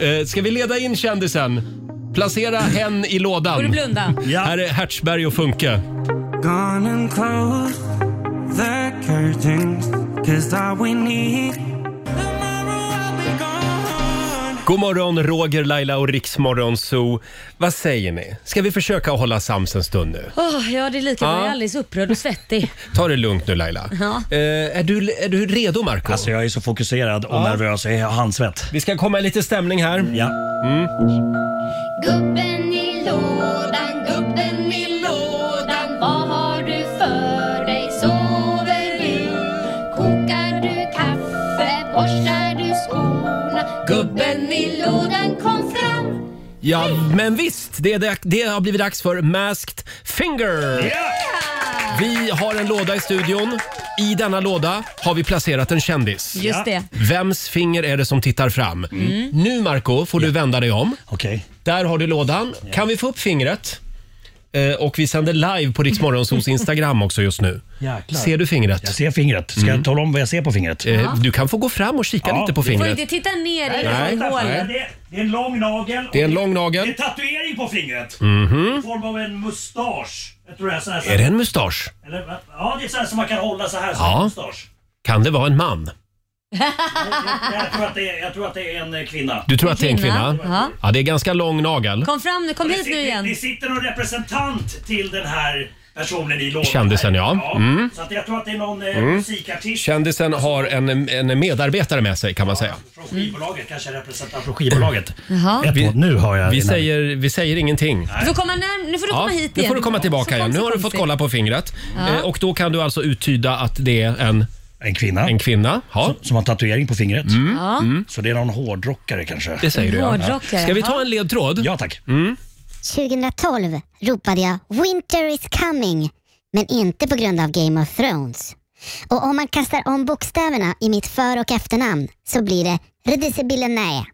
Eh, ska vi leda in kändisen? Placera hen i Får du lådan. blunda? Här Ja. är Hertzberg och Funke. Gone and close the curtains, cause all we need. Tomorrow I'll be gone. God morgon, Roger, Laila och Riksmorgon Zoo. Vad säger ni? Ska vi försöka hålla sams en stund nu? Åh, ja, det är lika bra. Ja. Jag är alldeles upprörd och svettig. Ta det lugnt nu Laila. Ja. Eh, är, du, är du redo Marco? Alltså jag är så fokuserad och nervös och jag har handsvett. Vi ska komma i lite stämning här. Mm. Ja. Gubben i lådan, gubben i lådan Vad har du för dig? Sover du? Kokar du kaffe? Borstar du skorna? Gubben i lådan kom fram Ja, men visst. Det, är det, det har blivit dags för Masked Finger. Vi har en låda i studion. I denna låda har vi placerat en kändis. Just det. Vems finger är det som tittar fram? Nu Marco får du vända dig om. Mm. Okej. Där har du lådan. Kan vi få upp fingret? Eh, och vi sänder live på Rix Morgonzoos Instagram också just nu. Jäklar. Ser du fingret? Mm. Jag ser fingret. Ska jag tala om vad jag ser på fingret? Eh, Du kan få gå fram och kika Ja. lite på Får fingret. inte titta ner i Nej. något hål. Nej. Det, det är en lång nagel. Det är en lång nagel. Mhm. Det är tatuering på fingret. I form av en mustasch. Jag tror det är så här. Är det en mustasch? Eller, va? ja, det är så här som man kan hålla så här. som Ja. en mustasch. Kan det vara en man? Jag tror, att det är, jag tror att det är en eh, kvinna. Du tror att det är en kvinna? Ja. Ja, det är ganska lång nagel. Kom fram nu, kom Det hit nu Mm. sitter- igen. Det sitter någon representant till den här personen i lådan. Kändisen, ja. Mm. Så att jag tror att det är någon eh, musikartist. Kändisen har en, en medarbetare med sig kan man säga. Från skivbolaget, kanske en representant från skivbolaget. Jaha. Ett, vi, nu hör jag Vi den här. säger, vi säger ingenting. Du får komma när, nu får du Ja, komma hit nu igen. får du komma tillbaka Så igen. Nu har du fått konstigt. kolla på fingret. Eh, Och då kan du alltså uttyda att det är en, En kvinna en kvinna. Ja, Mm. som har tatuering på fingret. Ja. Så det är någon hårdrockare kanske. det säger du ja. Hårdrockare, Ska vi ta ja. en ledtråd? Mm. Ja tack. 2012 ropade jag “Winter is coming” men inte på grund av Game of Thrones. Och om man kastar om bokstäverna i mitt för och efternamn så blir det “Redisibilenäe”.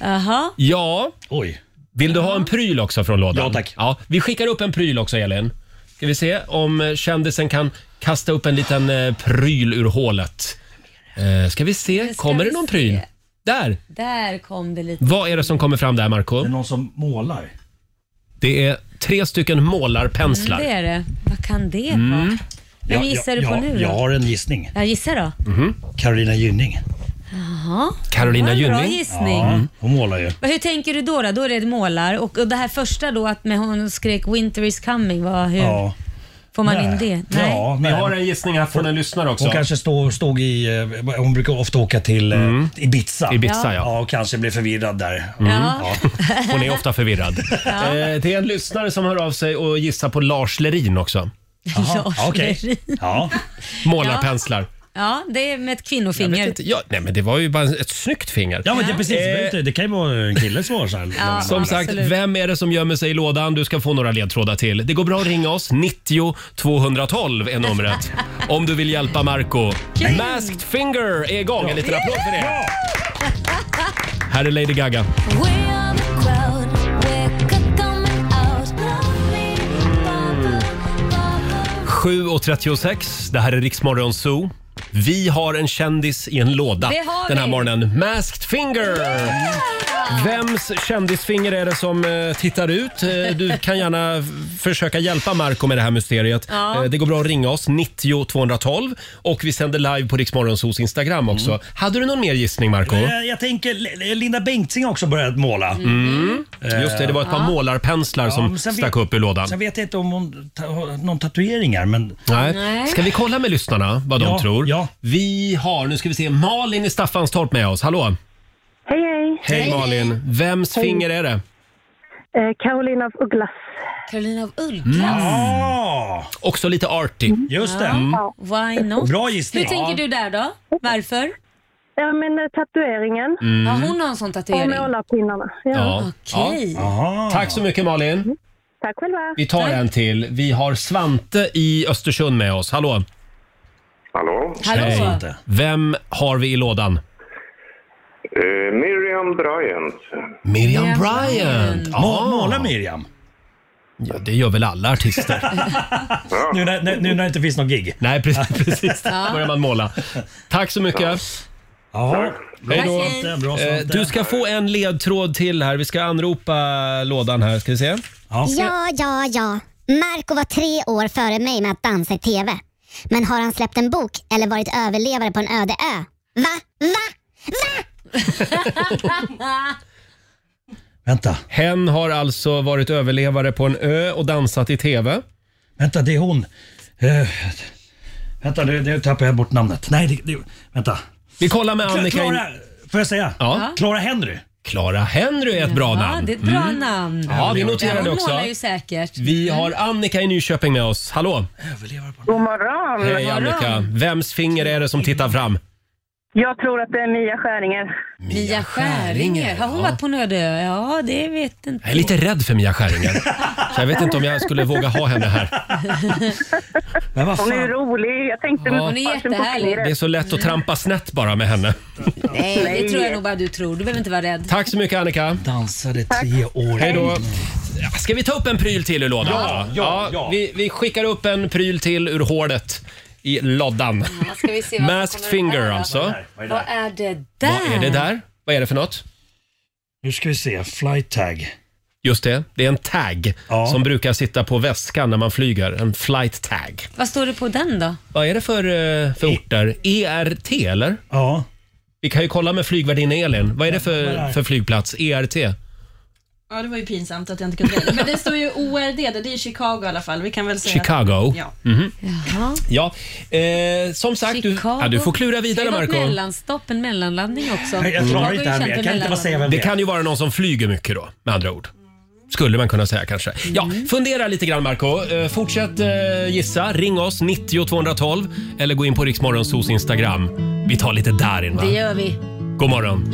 Jaha. Ja. Oj. Vill du ha en pryl också från lådan? Ja, tack. Ja, vi skickar upp en pryl också, Elin. Ska vi se om eh, kändisen kan kasta upp en liten eh, pryl ur hålet. Eh, ska vi se, ska kommer vi det någon se. pryl? Där! Där kom det lite. Vad är det som kommer fram där, Marco? Det är någon som målar. Det är tre stycken målarpenslar. Det är det. Vad kan det Mm. vara? Vem gissar du på jag, nu Jag då? har en gissning. Ja, gissa då. Carolina Gynning. Jaha. Mm-hmm. Carolina Det var en Bra Gynning. gissning. Hon målar ju. Men Hur tänker du då? Då, då är det målar och, och det här första då att med hon skrek “Winter is coming”, vad, hur Ja. får man Nej. in det? Nej. Ja, Vi men har en gissning här från en lyssnare också. Hon kanske stå, stod i... eh, Hon brukar ofta åka till eh, Ibiza. Mm. Ibiza, ja. Mm. Ja, och kanske blev förvirrad där. Ja. Hon är ofta förvirrad. eh, det är en lyssnare som hör av sig och gissar på Lars Lerin också. Jaha, Lars okej. Lerin. Ja. Målarpenslar. Ja, det är med ett Jag kvinnofinger. vet inte. Ja, nej, men det var ju bara ett snyggt finger. Ja, men det är precis. Eh, Det kan ju vara en kille som har så här. Ja, Som sagt, absolut. vem är det som gömmer sig i lådan? Du ska få några ledtrådar till. Det går bra att ringa oss. 90 212 är numret. Om du vill hjälpa Marco. Masked Finger är igång. En liten applåd för det. Här är Lady Gaga. Mm. 7.36, det här är Riksmorgon Zoo. Vi har en kändis i en låda Det har den här vi. morgonen. Masked Finger! Vems kändisfinger är det som eh, tittar ut? Eh, Du kan gärna f- försöka hjälpa Marco med det här mysteriet. Ja. Eh, Det går bra att ringa oss, 90 212. Och vi sänder live på Riksmorgonsos Instagram också. Hade du någon mer gissning Marco? Mm. Eh, Jag tänker, L- Linda Bengtzing har också börjat måla. Mm. Just det, det var ett par Ja. målarpenslar Ja, som men sen stack vet- upp ur lådan. Sen vet jag inte om hon ta, har någon tatueringar, men... Nej. Ska vi kolla med lyssnarna vad de Ja, tror? Vi har, nu ska vi se, Malin i Staffanstorp med oss. Hallå! Hej, hej. Hej, Malin! Vems Hej. finger är det? Eh, Carolina af Ugglas. Carolina af Mm, Också lite Mm. arty. Mm. Just Mm. Ja. Why not? Bra gissning. Hur tänker Ja. du där då? Varför? Ja, men eh, tatueringen. Mm. Ja, hon har en sån tatuering. Och målarpinnarna. Ja. Ja. Tack så mycket Malin. Tack själva. Vi tar en till. Vi har Svante i Östersund med oss. Hallå! Hallå? Hej. Vem har vi i lådan? Eh, Miriam Bryant. Miriam Bryant. Må- målar Miriam? Mm. Ah. Ja, det gör väl alla artister. nu, när, när- nu när det inte finns någon gig. Nej, precis. precis. Ja. börjar man måla. Tack så mycket. Ja. Bra Hej då. Svante, bra Eh, Svante. Du ska få en ledtråd till här. Vi ska anropa lådan här. Ska vi se? Ja, ja, ja. Marco var tre år före mig med att dansa i TV. Men har han släppt en bok eller varit överlevare på en öde ö? Va? Va? Vänta. Hen har alltså varit överlevare på en ö och dansat i TV. Vänta, det är hon. Eh, vänta, nu, nu tappar jag bort namnet. Nej, det, det, vänta. Vi kollar med Annika in- Klara, får jag säga? Ja. Clara Henry. Clara Henry är ett Ja, bra namn. det är ett bra Mm. namn. Ja, vi noterar det också. Hon målar ju säkert. Vi har Annika i Nyköping med oss. Hallå! God morgon. Hej Annika! Vems finger är det som tittar fram? Jag tror att det är Mia Skäringer. Mia Skäringer. Har hon varit på en öde ö? Ja, det vet inte. Jag är lite rädd för Mia Skäringer. Så jag vet inte om jag skulle våga ha henne här. Men vad Hon fan, är rolig. Jag tänkte Ja. Hon är farsen på jättehärlig. fingret. det är så lätt att trampa snett bara med henne. Nej, det tror jag nog bara du tror. Du behöver inte vara rädd. Tack så mycket Annika. Dansade tre år. Hej då. Ja, Ska vi ta upp en pryl till ur lådan? Ja, ja, ja. Vi, vi skickar upp en pryl till ur hålet i lådan. Ska vi Mm. se vad som Masked kommer finger här då? alltså. Vad är det där? Vad är det där? Vad är det för något? Nu ska vi se. Flight tag. Just det, det är en tag som brukar sitta på väskan när man flyger. En flight tag. Vad står det på den då? Vad är det för, eh, för orter? ERT eller? E- Ja. Vi kan ju kolla med flygvärdinna Elin. Vad är det vad är för, det? för flygplats? E E ERT? Ja, det var ju pinsamt att jag inte kunde det. Men det står ju ORD, det är ju Chicago i alla fall. Vi kan väl säga Chicago? Ja. Mhm. Ja, eh, som sagt, du, Chicago? ja, du får klura Det vidare är något Marco. mellanstopp, en mellanlandning också. Jag klarar inte det här Jag kan inte bara säga vem Det kan ju vara någon som flyger mycket då, med andra ord. Skulle man kunna säga kanske. Ja, Mm. fundera lite grann Marco. Eh, fortsätt eh, gissa. Ring oss, 90 212 eller gå in på Riksmorgonsos Instagram. Vi tar lite Darin va? Det gör vi. God morgon.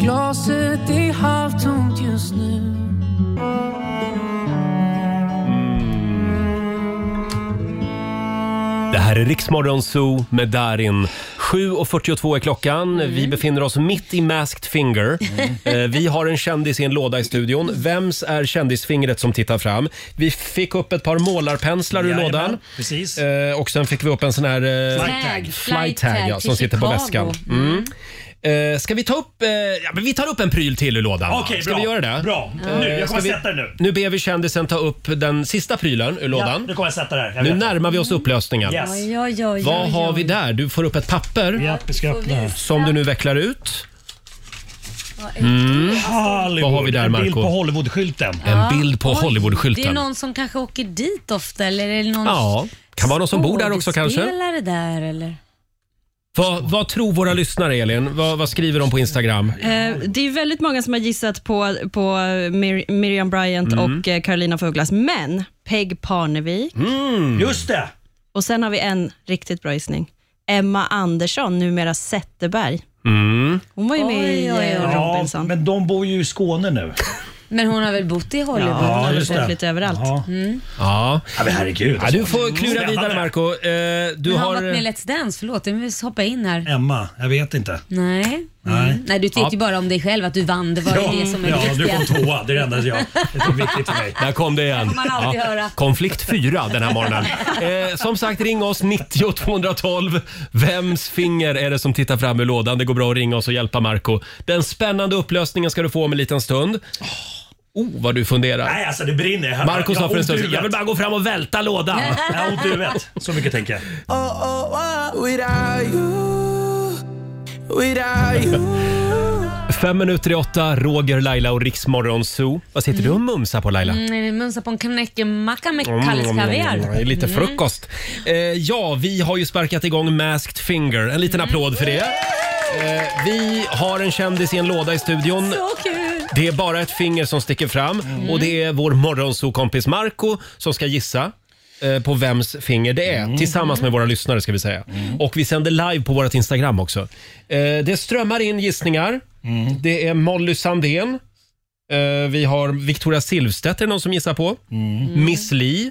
Glaset är halvtomt just nu. Det här är Riksmorgon Zoo med Darin. 7.42 är klockan. Mm. Vi befinner oss mitt i Masked Finger. Eh, Vi har en kändis i en låda i studion. Vems är kändisfingret som tittar fram? Vi fick upp ett par målarpenslar ur Jajamän, lådan. Precis. Eh, Och sen fick vi upp en sån här... eh, Flight tag. Flight tag, ja, till som sitter på Chicago. väskan. Mm. Eh, Ska vi ta upp... eh, Ja, men vi tar upp en pryl till ur lådan. va? Okej, Ska bra. vi göra det? Bra. Eh, Nu, jag ska kommer vi- sätta den nu. Nu ber vi kändisen ta upp den sista prylen ur lådan. Ja, nu kommer jag sätta det här. Jag Nu vet. närmar vi oss upplösningen. Yes. Oj, oj, oj, Vad oj, har oj. vi där? Du får upp ett papper Japp, ska öppna här. som du nu vecklar ut. Mm. Hollywood. Vad har vi där, En bild Marco? på Hollywood-skylten. En bild på Oj, Det är Hollywood-skylten. någon som kanske åker dit ofta eller är det någon Ja, kan vara någon som bor där också kanske. skådespelare där eller? Vad, vad tror våra lyssnare, Elin? Vad, vad skriver de på Instagram? Eh, det är väldigt många som har gissat på, på Mir- Miriam Bryant Mm. och eh, Carolina af Ugglas, men Peg Parnevik. Mm. Just det! Och sen har vi en riktigt bra gissning. Emma Andersson, numera Zetterberg. Mm. Hon var ju med i eh, Robinson. men de bor ju i Skåne nu. Men hon har väl bott i Hollywood? Ja, just det. Lite överallt. Mm. Ja. ja men herregud. alltså. Ja, du får klura vidare Marco. Eh, du men har har... hon varit med i Let's Dance? Förlåt, jag måste hoppa in här. Emma, jag vet inte. Nej. Nej. Mm. Nej, du vet ju bara om dig själv att du vann. Det var ju det som är ja, det du viktiga. kom tvåa. Det är det enda jag... Det är viktigt för mig. Där kom det igen. får man alltid höra. Konflikt 4 den här morgonen. Eh, som sagt, ring oss 90 212. Vems finger är det som tittar fram ur lådan? Det går bra att ringa oss och hjälpa Marco. Den spännande upplösningen ska du få om en liten stund. Oh, vad du funderar. Nej, alltså det brinner. Jag- Marco jag sa har för en ont i stund sedan, huvudet. jag vill bara gå fram och välta lådan. Jag har ont i huvudet. Så mycket tänker jag. Oh, oh, oh, without you, without you. Fem minuter i åtta, Roger, Laila och Riksmorgon Zoo. Vad sitter du och mumsar på Laila? Mm, munsa på en knäckemacka med Kalles Mm, kaviar. mm, mm, Lite Mm. frukost. Eh, ja, vi har ju sparkat igång Masked Finger. En Mm. liten applåd för det. Eh, vi har en kändis i en låda i studion. Så kul! Det är bara ett finger som sticker fram Mm. och det är vår morgonsokompis Marco som ska gissa eh, på vems finger det Mm. är tillsammans med våra lyssnare ska vi säga. Och vi sänder live på vårt Instagram också. Eh, det strömmar in gissningar. Mm. Det är Molly Sandén. Eh, vi har Victoria Silvstedt är det någon som gissar på. Mm. Miss Li.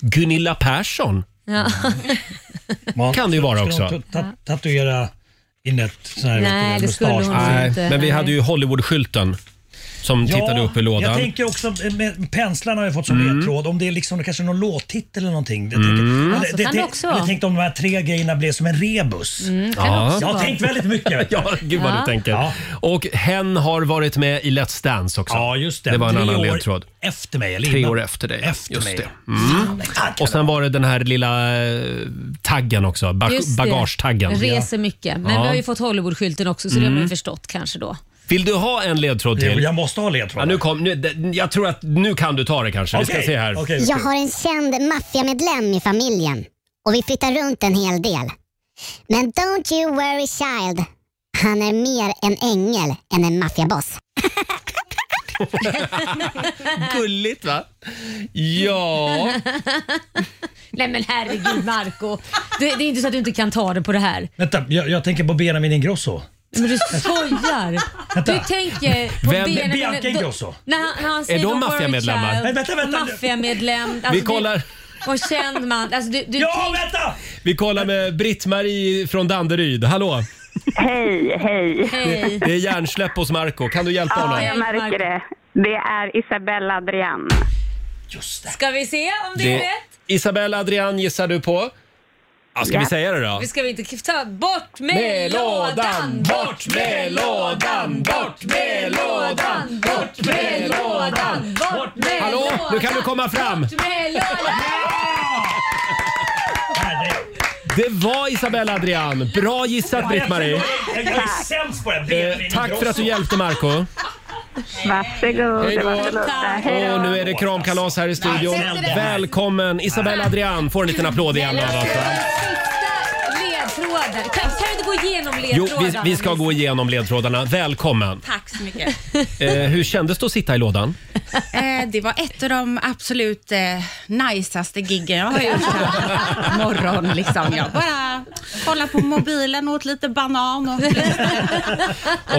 Gunilla Persson Ja. kan det ju vara också. Ska de ta- ta- tatuera in ett sånt här Nej, det skulle hon Nej, inte. men vi hade ju Hollywood-skylten som tittade upp i lådan. Jag tänker också, eh, med, penslarna har jag fått som ledtråd. Om det är liksom kanske någon låttitel eller någonting. Jag tänker- Mm. Ja, Ja, så Alltså, kan det också vara. Mm, jag tänkte om de här tre grejerna blev som en rebus. kan Ja. också Jag har vara. tänkt väldigt mycket. vet jag. Ja, gud vad du tänker. Och hen har varit med i Let's Dance också. Ja, just det. var en Tre annan år ledtråd. Mm. Efter mig, eller Tre innan? år efter dig. Efter just mig. det. Mm. Och sen var det den här lilla eh, taggen också. Ba- Just det. bagagetaggen. Reser mycket. Men Ja. vi har ju fått Hollywoodskylten också så det har man Mm. ju förstått kanske då. Vill du ha en ledtråd till? Jag måste ha ledtråd. Ja, nu kom, nu, d- jag tror att nu kan du ta det kanske. Vi ska Okej, se här. Jag har en känd maffiamedlem i familjen och vi flyttar runt en hel del. Men don't you worry child, han är mer en ängel än en maffiaboss. Gulligt va? Ja. Nej men herregud Marco det, det är inte så att du inte kan ta det på det här. Vänta, jag, jag tänker på Benjamin Ingrosso. Men du skojar. Du tänker på Vem- Benjamin- Bianca Ingrosso. När han, när han Är de säger maffiamedlemmar? Maffiamedlemmar? Nej, vänta, vänta. Maffiamedlem. Alltså, Vi du- kollar. Och känd man. Alltså, du, du Ja, tänk- vänta! Vi kollar med Britt-Marie från Danderyd. Hallå! Hej, hej. Hej. Det är hjärnsläpp hos Marco. Kan du hjälpa Ja, honom? jag märker det. Det är Isabella Adrian. Ska vi se om det, är rätt? Det, Isabella Adrian gissar du på. Ja, ska vi Ja. säga det då? Vi ska vi inte ta bort med, Med lådan, bort med lådan, bort med lådan, bort med lådan, bort med Hallå, lådan. nu kan du komma fram. Bort med lådan. Det var Isabella Adrian. Bra gissat Britt-Marie. Jag är sämst på det. Benjamin Eh, tack för att du Ingrosso. hjälpte Marco. Varsågod. Hej då. varsågod. Hej då. Och nu är det kramkalas här i studion. Välkommen Isabella Adrian får en liten applåd igen alltså. av oss. Ledtråden. Kan, kan vi inte gå igenom Jo, ledtråden? vi, vi ska gå igenom ledtrådarna. Välkommen. Tack så mycket. Eh, hur kändes det att sitta i lådan? eh, det var ett av de absolut eh, najsaste giggen jag har gjort. här. Morgon liksom. Jag bara kollade på mobilen, åt lite banan och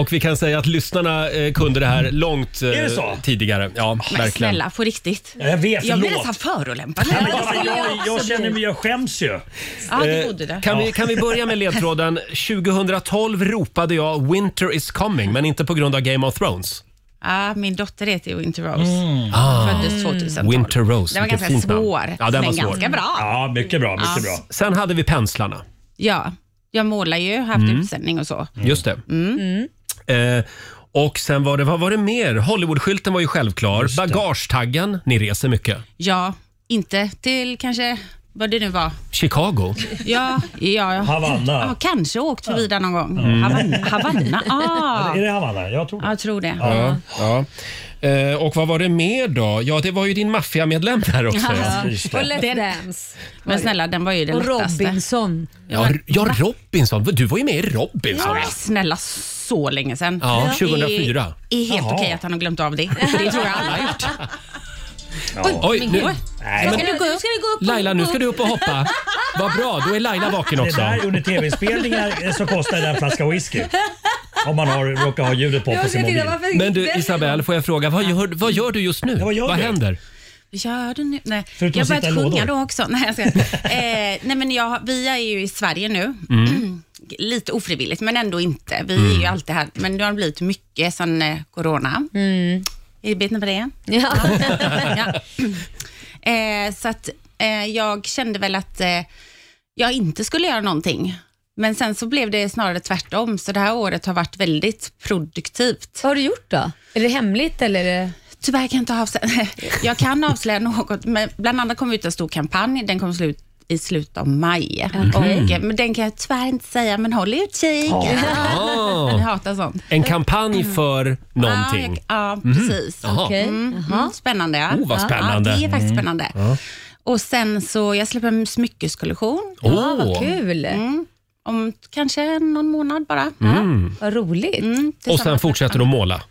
Och vi kan säga att lyssnarna eh, kunde det här långt eh, Är det så? tidigare. Ja, Men verkligen. snälla, på riktigt. Ja, jag vet, jag blir förlåt. nästan förolämpad. Ja, men jag, jag, jag känner mig, jag skäms ju. Ja, det Eh, borde det. Kan, vi, kan vi börja med ledtråden? 2012 ropade jag “Winter is coming” men inte på grund av Game of Thrones. Ja, min dotter heter ju Winter Rose. Mm. Ah. Föddes 2012. Winter Rose. Den var vilket ganska fint namn. svår, Ja, den var men svår. ganska bra. Ja, mycket bra. mycket Ja. bra. Sen hade vi penslarna. Ja, jag målar ju, haft Mm. utställning och så. Just det. Mm. Eh, och sen var det, vad var det mer? Hollywoodskylten var ju självklar. Bagagetaggen, ni reser mycket. Ja, inte till kanske vad det nu var. Chicago. Ja, ja, ja. Havanna. Ja, kanske åkt förbi där någon gång. Mm. Havanna. Havanna. Ah. Är det Havanna? Jag tror det. Jag tror det. Ja, ja. Eh, och vad var det mer då? Ja, det var ju din maffiamedlem där också. Ja. Och Let's Dance. Men snälla, den var ju den Och lättaste. Robinson. Ja, R- ja, Robinson. Du var ju med i Robinson. Ja, men snälla, så länge sedan. Ja, 2004. Det är helt Jaha. okej att han har glömt av det. Det tror jag alla har gjort. Oj, Oj, nu- Nej, men- ska, du, gå upp? ska du gå upp och- Laila, nu ska du upp och hoppa. Vad bra, då är Laila vaken också. Det där under tv-inspelningar så kostar det en flaska whisky. Om man har, råkar ha ljudet på på sin mobil. Men du Isabelle, får jag fråga, vad gör, vad gör du just nu? gör vad du? händer? Gör du nu? Nej. Förutom jag att har sitta i börjat sjunga lådor. då också. Nej, jag ska. Eh, nej, men jag, vi är ju i Sverige nu. Mm. Lite ofrivilligt, men ändå inte. Vi är Mm. ju alltid här, men det har blivit mycket sen eh, corona. Mm. Vet ni vad det är? Ja. Eh, så att eh, jag kände väl att eh, jag inte skulle göra någonting. Men sen så blev det snarare tvärtom, så det här året har varit väldigt produktivt. Vad har du gjort då? Är det hemligt eller? Är det... Tyvärr kan jag inte avslöja. Jag kan avslöja något, men bland annat kom ut en stor kampanj. Den kommer slut i slutet av maj. Okej. Och, eh, men den kan jag tyvärr inte säga, men håll utkik. Ja. Jag hatar sånt. En kampanj för någonting. Ja, jag, ja Mhm. precis. Jaha. Mm, mm, spännande. ja. Oh, vad spännande. Ja, det är faktiskt Mm. spännande. Ja. Och sen så, jag släpper en smyckeskollektion. Åh. Ja, vad kul. Mm. Om kanske någon månad bara. Mm. Vad roligt. Och sen fortsätter du att måla.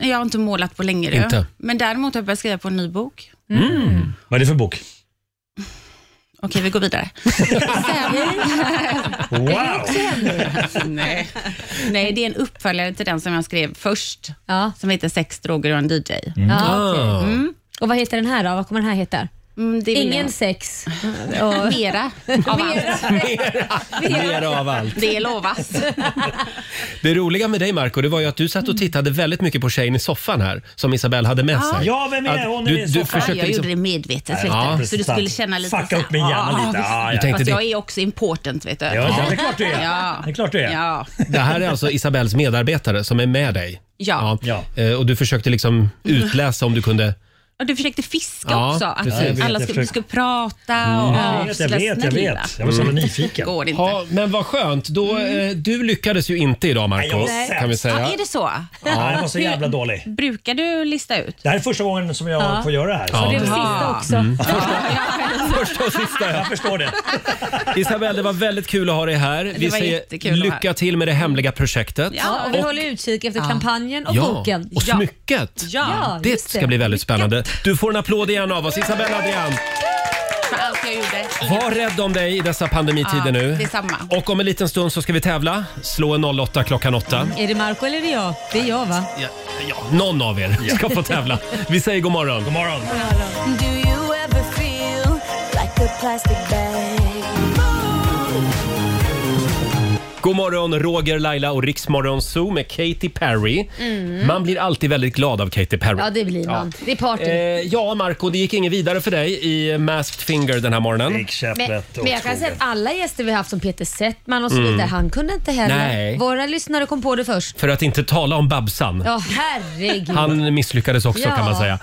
Jag har inte målat på länge. du. Inte. Men däremot har jag börjat skriva på en ny bok. Mm. Vad är det för bok? Okej, vi går vidare. Wow! Nej. Nej, det är en uppföljare till den som jag skrev först, som heter Sex, droger och en DJ. Ja, okej. Ah. Mm. Och vad heter den här då? Vad kommer den här heta? det vill Ingen jag. sex. Mera av allt. Mer av allt. Det lovas. Det roliga med dig Marco, det var ju att du satt och tittade väldigt mycket på tjejen i soffan här, som Isabelle hade Ah. med sig. Ja, vem är det? Att Hon är du, i du soffan. försökte jag liksom... gjorde det medvetet, vet Ja, du. så du precis. skulle känna lite Fucka så här, upp min hjärna ja, lite. visst. Ja, ja. Du tänkte Fast det- jag är också important, vet du. Ja, det är klart du är. Ja. Det är klart du är. Ja. Det här är alltså Isabelles medarbetare som är med dig. Ja. Eh, Och du försökte liksom utläsa om du kunde... Och du försökte fiska Ja, också, att precis. Jag vet, alla jag skulle, försökte- Mm. skulle prata och Ja, jag vet, jag avslöja vet, jag snälla. vet. Jag var så jävla nyfiken. Går inte. Ja, men vad skönt. Då, eh, du lyckades ju inte idag Marco, Nej. kan vi säga. Ja, är det så? Ja, jag var så jävla dålig. Brukar du lista ut? Det här är första gången som jag Ja. får göra det här. Ja. Och det är det sista också. Mm. Första och sista. Jag förstår det. Isabelle, det var väldigt kul att ha dig här. Vi var säger jättekul att vara lycka till med det hemliga projektet. Ja, och vi håller utkik efter kampanjen och ja, boken. och smycket. Ja, det just ska det. bli väldigt spännande. Du får en applåd igen av oss. Isabelle Adrian, För allt jag gjorde. var rädd om dig i dessa pandemitider Ja, nu. detsamma. Och om en liten stund så ska vi tävla. Slå en 08 klockan 8. Är det Marco eller är det jag? Det är jag va? Ja, ja, någon av er ska få tävla. Vi säger god morgon. God morgon. Do you ever feel like a plastic bag? God morgon, Roger, Laila och Riksmorgon Zoo med Katy Perry. Mm. Man blir alltid väldigt glad av Katy Perry. Ja, det blir man. Det är party. Eh, ja, Marco, det gick inget vidare för dig i Masked Finger den här morgonen. Det gick Men, men jag kan säga att alla gäster vi har haft som Peter Settman och så Mm. vidare, han kunde inte heller. Nej. Våra lyssnare kom på det först. För att inte tala om Babsan. Ja, herregud. Han misslyckades också Ja. kan man säga.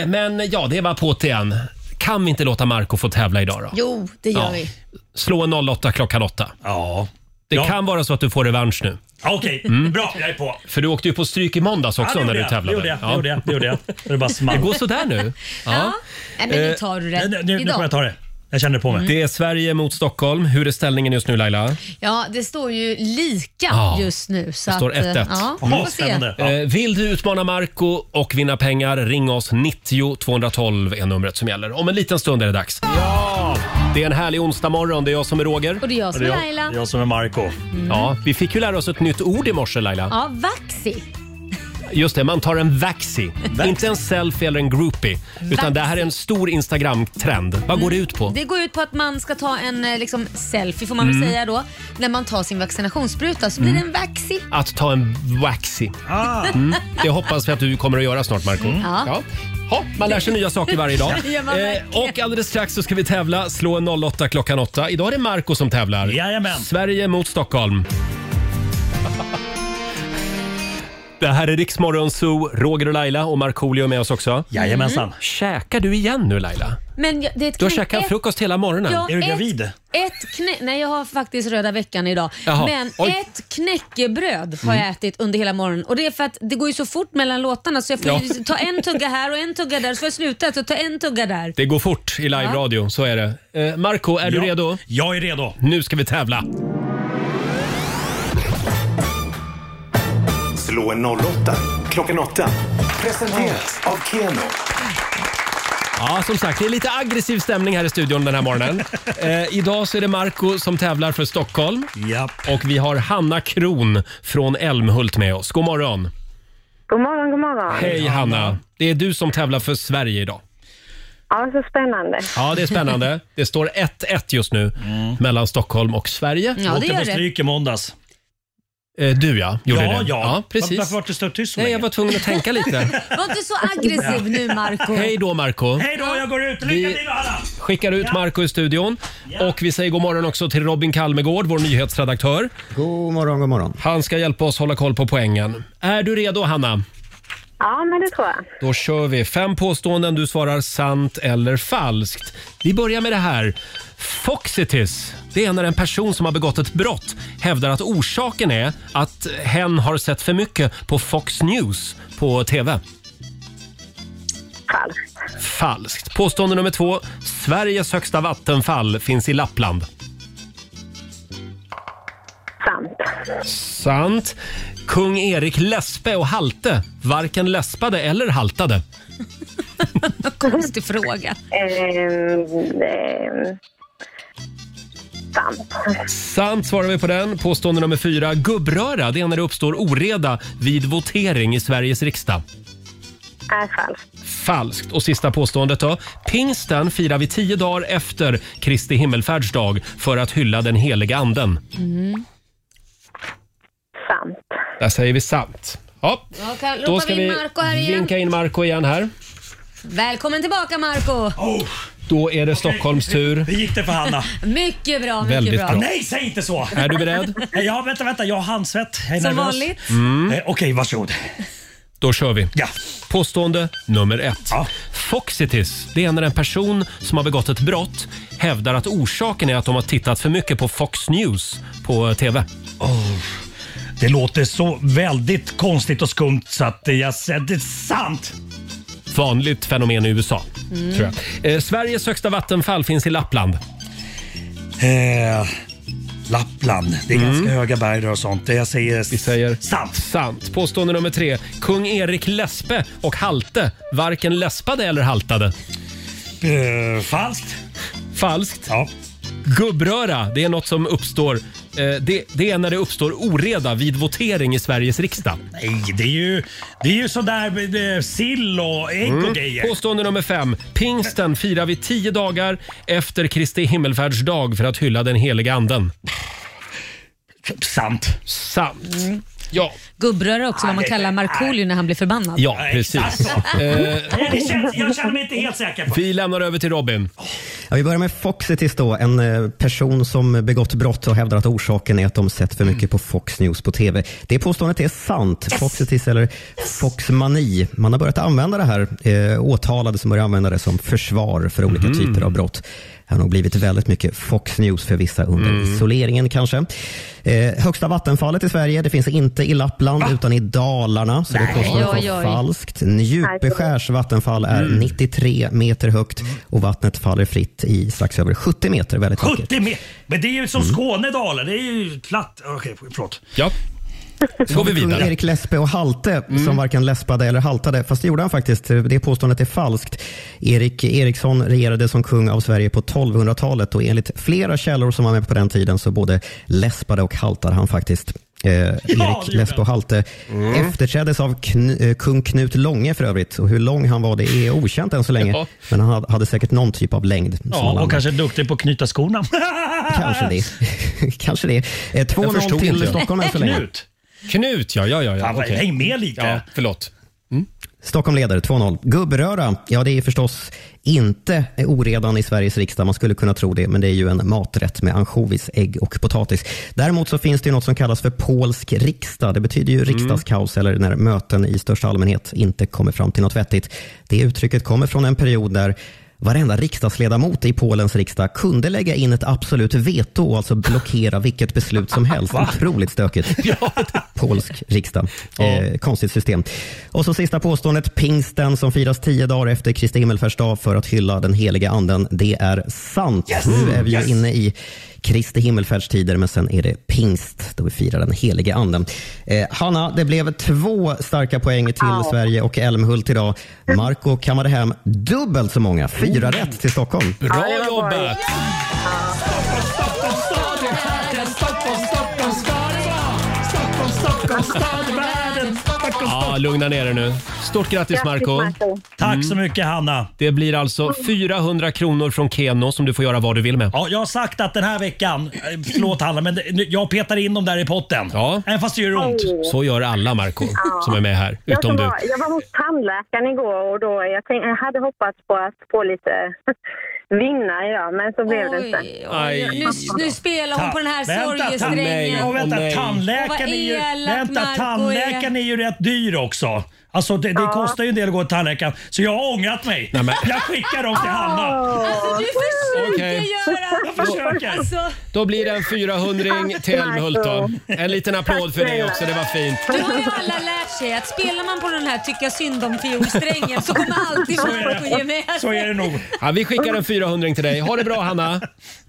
Eh, men ja, det var på igen. Kan vi inte låta Marco få tävla idag då? Jo, det gör Ja. vi. Slå en 08 klockan 8. Ja. Det kan vara så att du får revansch nu. Ja, Okej, bra. Jag är på. För du åkte ju på stryk i måndags också Ja, det när gjorde du jag. tävlade. Det gjorde jag, det gjorde jag, det gjorde jag. Det bara small. Det går sådär nu. Ja. Nej, men nu Eh, tar du det. Idag. det. Jag känner på mig. Det är Sverige mot Stockholm. Hur är ställningen just nu Laila? Ja, det står ju lika Ja. just nu. Så Det står att, eh, 1-1. Ja, vi får se. Eh, Vill du utmana Marco och vinna pengar, ring oss. 90 212 är numret som gäller. Om en liten stund är det dags. Ja! Det är en härlig onsdag morgon. Det är jag som är Roger. Och det är jag som är Laila. jag som är Marco. Ja, vi fick ju lära oss ett nytt ord i morse Laila. Ja, vaxi. Just det, man tar en vaxi. Inte en selfie eller en groupie. Utan det här är en stor Instagram-trend. Vad går det ut på? Mm. Det går ut på att man ska ta en eh, liksom, selfie får man väl Mm. säga då. När man tar sin vaccinationsspruta så blir Mm. det en vaxi. Att ta en waxi. Mm. Det hoppas vi att du kommer att göra snart, Marco. Mm. Ja. Ja. Ha, man lär sig nya saker varje dag. Eh, Det gör man verkligen. och alldeles strax så ska vi tävla. Slå en 08 klockan 8. Idag är det Marco som tävlar. Jajamän. Sverige mot Stockholm. Det här är Riksmorgon Zoo, Roger och Laila och Markoolio är med oss också. Jajamensan. Mm. Käkar du igen nu Laila? Men jag, det är ett Du har knä- käkat ett- frukost hela morgonen. Ja, ett- Ett knä, nej, jag har faktiskt röda veckan idag. Jaha, Men oj. ett knäckebröd har Mm. jag ätit under hela morgonen. Och Det är för att det går ju så fort mellan låtarna så jag får Ja. ju ta en tugga här och en tugga där. Så får jag sluta så ta en tugga där. Det går fort i live-radio, så är det. Eh, Marco, är du redo? Jag är redo. Nu ska vi tävla. Slå en 08 klockan 8. Presenteras av Keno. Ja, som sagt, det är lite aggressiv stämning här i studion den här morgonen. Eh, idag så är det Marco som tävlar för Stockholm. Och vi har Hanna Kron från Älmhult med oss. God morgon! God morgon, god morgon. Hej Hanna! Det är du som tävlar för Sverige idag. Ja, så spännande. Ja, det är spännande. Det står 1-1 just nu mellan Stockholm och Sverige. Mm. Ja, Jag åkte det gör på det. stryk i måndags. Du ja, gjorde Ja, det. ja. precis. Varför var du så tyst så Nej, länge? jag var tvungen att tänka lite. Var inte så aggressiv nu Marco Hej då Marco Hej då, jag går ut. Lycka till alla! Skickar ut Marco i studion. Och vi säger god morgon också till Robin Kalmegård, vår nyhetsredaktör. God morgon, god morgon. Han ska hjälpa oss hålla koll på poängen. Är du redo Hanna? Ja, men det tror jag. Då kör vi. Fem påståenden, du svarar sant eller falskt. Vi börjar med det här. Foxitis, det är när en person som har begått ett brott hävdar att orsaken är att hen har sett för mycket på Fox News på TV. Falskt. Falskt. Påstående nummer två. Sveriges högsta vattenfall finns i Lappland. Sant. Sant. Kung Erik läspe och halte varken läspade eller haltade. Konstig fråga. Ehm, Sant. Sant svarar vi på den. Påstående nummer fyra. Gubbröra, det är när det uppstår oreda vid votering i Sveriges riksdag. Är falskt. Falskt. Och sista påståendet då. Pingsten firar vi tio dagar efter Kristi himmelfärdsdag för att hylla den heliga anden. Mm. Där säger vi sant. Ja. Ja, kan- Då ropar ska vi in vi Marco här igen. vinka in Marco igen här. Välkommen tillbaka Marco Oh. Då är det Stockholms tur. Hur gick det för Hanna? Mycket bra, mycket Väldigt bra. bra. Nej, säg inte så! Är du beredd? Ja, vänta, vänta. Jag har handsvett. Jag är Som nervös. Eh, vanligt. Mm. Okej, varsågod. Då kör vi. Påstående nummer ett. Foxitis, det är när en person som har begått ett brott hävdar att orsaken är att de har tittat för mycket på Fox News på eh, TV. Det låter så väldigt konstigt och skumt så att jag säger det är sant. Vanligt fenomen i USA, Mm. tror jag. Eh, Sveriges högsta vattenfall finns i Lappland. Eh, Lappland. Det är ganska höga berg där och sånt. Det Jag säger, Vi Mm. säger sant. Sant. Påstående nummer tre. Kung Erik läspe och halte varken läspade eller haltade. Eh, falskt. Falskt. Ja. Gubbröra, det är något som uppstår... Eh, det, det är när det uppstår oreda vid votering i Sveriges riksdag. Nej, det är ju, det är ju sådär eh, sill och ägg Mm. och grejer. Påstående nummer fem. Pingsten firar vi tio dagar efter Kristi himmelfärdsdag för att hylla den heliga anden. Sant. Sant. Ja. Gubbröra också vad man kallar Markoolio när han blir förbannad. Ja, precis. Eh, Nej, det känns, jag känner mig inte helt säker på vi lämnar över till Robin. Ja, vi börjar med Foxitis då, en eh, person som begått brott och hävdar att orsaken är att de sett för Mm. mycket på Fox News på TV. Det påståendet är sant. Foxitis eller Foxmani. Man har börjat använda det här, eh, åtalade som börjar använda det som försvar för olika Mm. typer av brott. Det har nog blivit väldigt mycket Fox News för vissa under Mm. isoleringen kanske. Eh, högsta vattenfallet i Sverige, det finns inte i Lappland utan i Dalarna, så Nej. det påståendet Oj, var oj. falskt högt. Njupeskärs vattenfall är Mm. 93 meter högt och vattnet faller fritt i strax över 70 meter. Väldigt vackert. 70 meter. Men det är ju som Skånedalen. Det är ju platt. Okej, förlåt. Mm. Ja. Så har vi kung Erik Läspe och Halte Mm. som varken läspade eller haltade. Fast det gjorde han faktiskt. Det påståendet är falskt. Erik Eriksson regerade som kung av Sverige på 1200-talet och enligt flera källor som var med på den tiden så både läspade och haltade han faktiskt. Eh, Erik Läspe och Halte Mm. efterträddes av kn- eh, kung Knut Långe för övrigt. Och hur lång han var det är okänt än så länge. Ja. Men han hade- hade säkert någon typ av längd. som han Ja, och använde. kanske duktig på att knyta skorna. Kanske det. Kanske det. Eh, 2-0 till Stockholm än så länge. Knut. Knut, ja. ja, ja, ja. Fan, vad- okej. Häng med lite. Ja, förlåt. Stockholm leder 2-0. Gubbröra, ja det är förstås inte oredan i Sveriges riksdag. Man skulle kunna tro det, men det är ju en maträtt med ansjovis, ägg och potatis. Däremot så finns det ju något som kallas för polsk riksdag. Det betyder ju riksdagskaos eller när möten i största allmänhet inte kommer fram till något vettigt. Det uttrycket kommer från en period där Varenda riksdagsledamot i Polens riksdag kunde lägga in ett absolut veto och alltså blockera vilket beslut som helst. Otroligt stökigt. Polsk riksdag. Eh, konstigt system. Och så sista påståendet. Pingsten som firas tio dagar efter Kristi himmelfärdsdag för att hylla den heliga anden. Det är sant. Nu är vi ju Yes! inne i Kristi himmelfärdstider, men sen är det pingst då vi firar den helige anden. Eh, Hanna, det blev två starka poäng till Ja. Sverige och Älmhult idag. Marco kammade hem dubbelt så många, fyra rätt till Stockholm. Bra Ja, det var bra. jobbat! Ja, lugna ner er nu. Stort grattis Grattis, Marco Marco. Tack så mycket Hanna. Det blir alltså 400 kronor från Keno som du får göra vad du vill med. Ja, jag har sagt att den här veckan, eh, förlåt Hanna, men det- nu- jag petar in dem där i potten. Ja. Även fast det gör ont. Så gör alla Marco Ja. som är med här, Jag, utom som du. var, jag var hos tandläkaren igår och då jag, tänkte, jag hade hoppats på att få lite vinna idag, men så blev det inte. Aj. Nu, nu spelar hon på den här Vänta, sorgesträngen. tan- Ja, vänta, Åh, tandläkaren, vad är ju, elak vänta Marco tandläkaren är ju rätt dyr också. Alltså det, det Ja. kostar ju en del att gå till tandläkaren. Så jag har ångrat mig. Nej, men- Jag skickar dem till Hanna. Alltså du försöker Okej. göra... Jag försöker. Alltså, Då blir det en 400 till Älmhult då. En liten applåd för dig också, det var fint. nu har ju alla lärt sig att spelar man på den här tycka synd om fiolsträngen så kommer alltid Så är det. Marco ge med sig. det nog. Ja, vi skickar en 400 till dig. Ha det bra Hanna!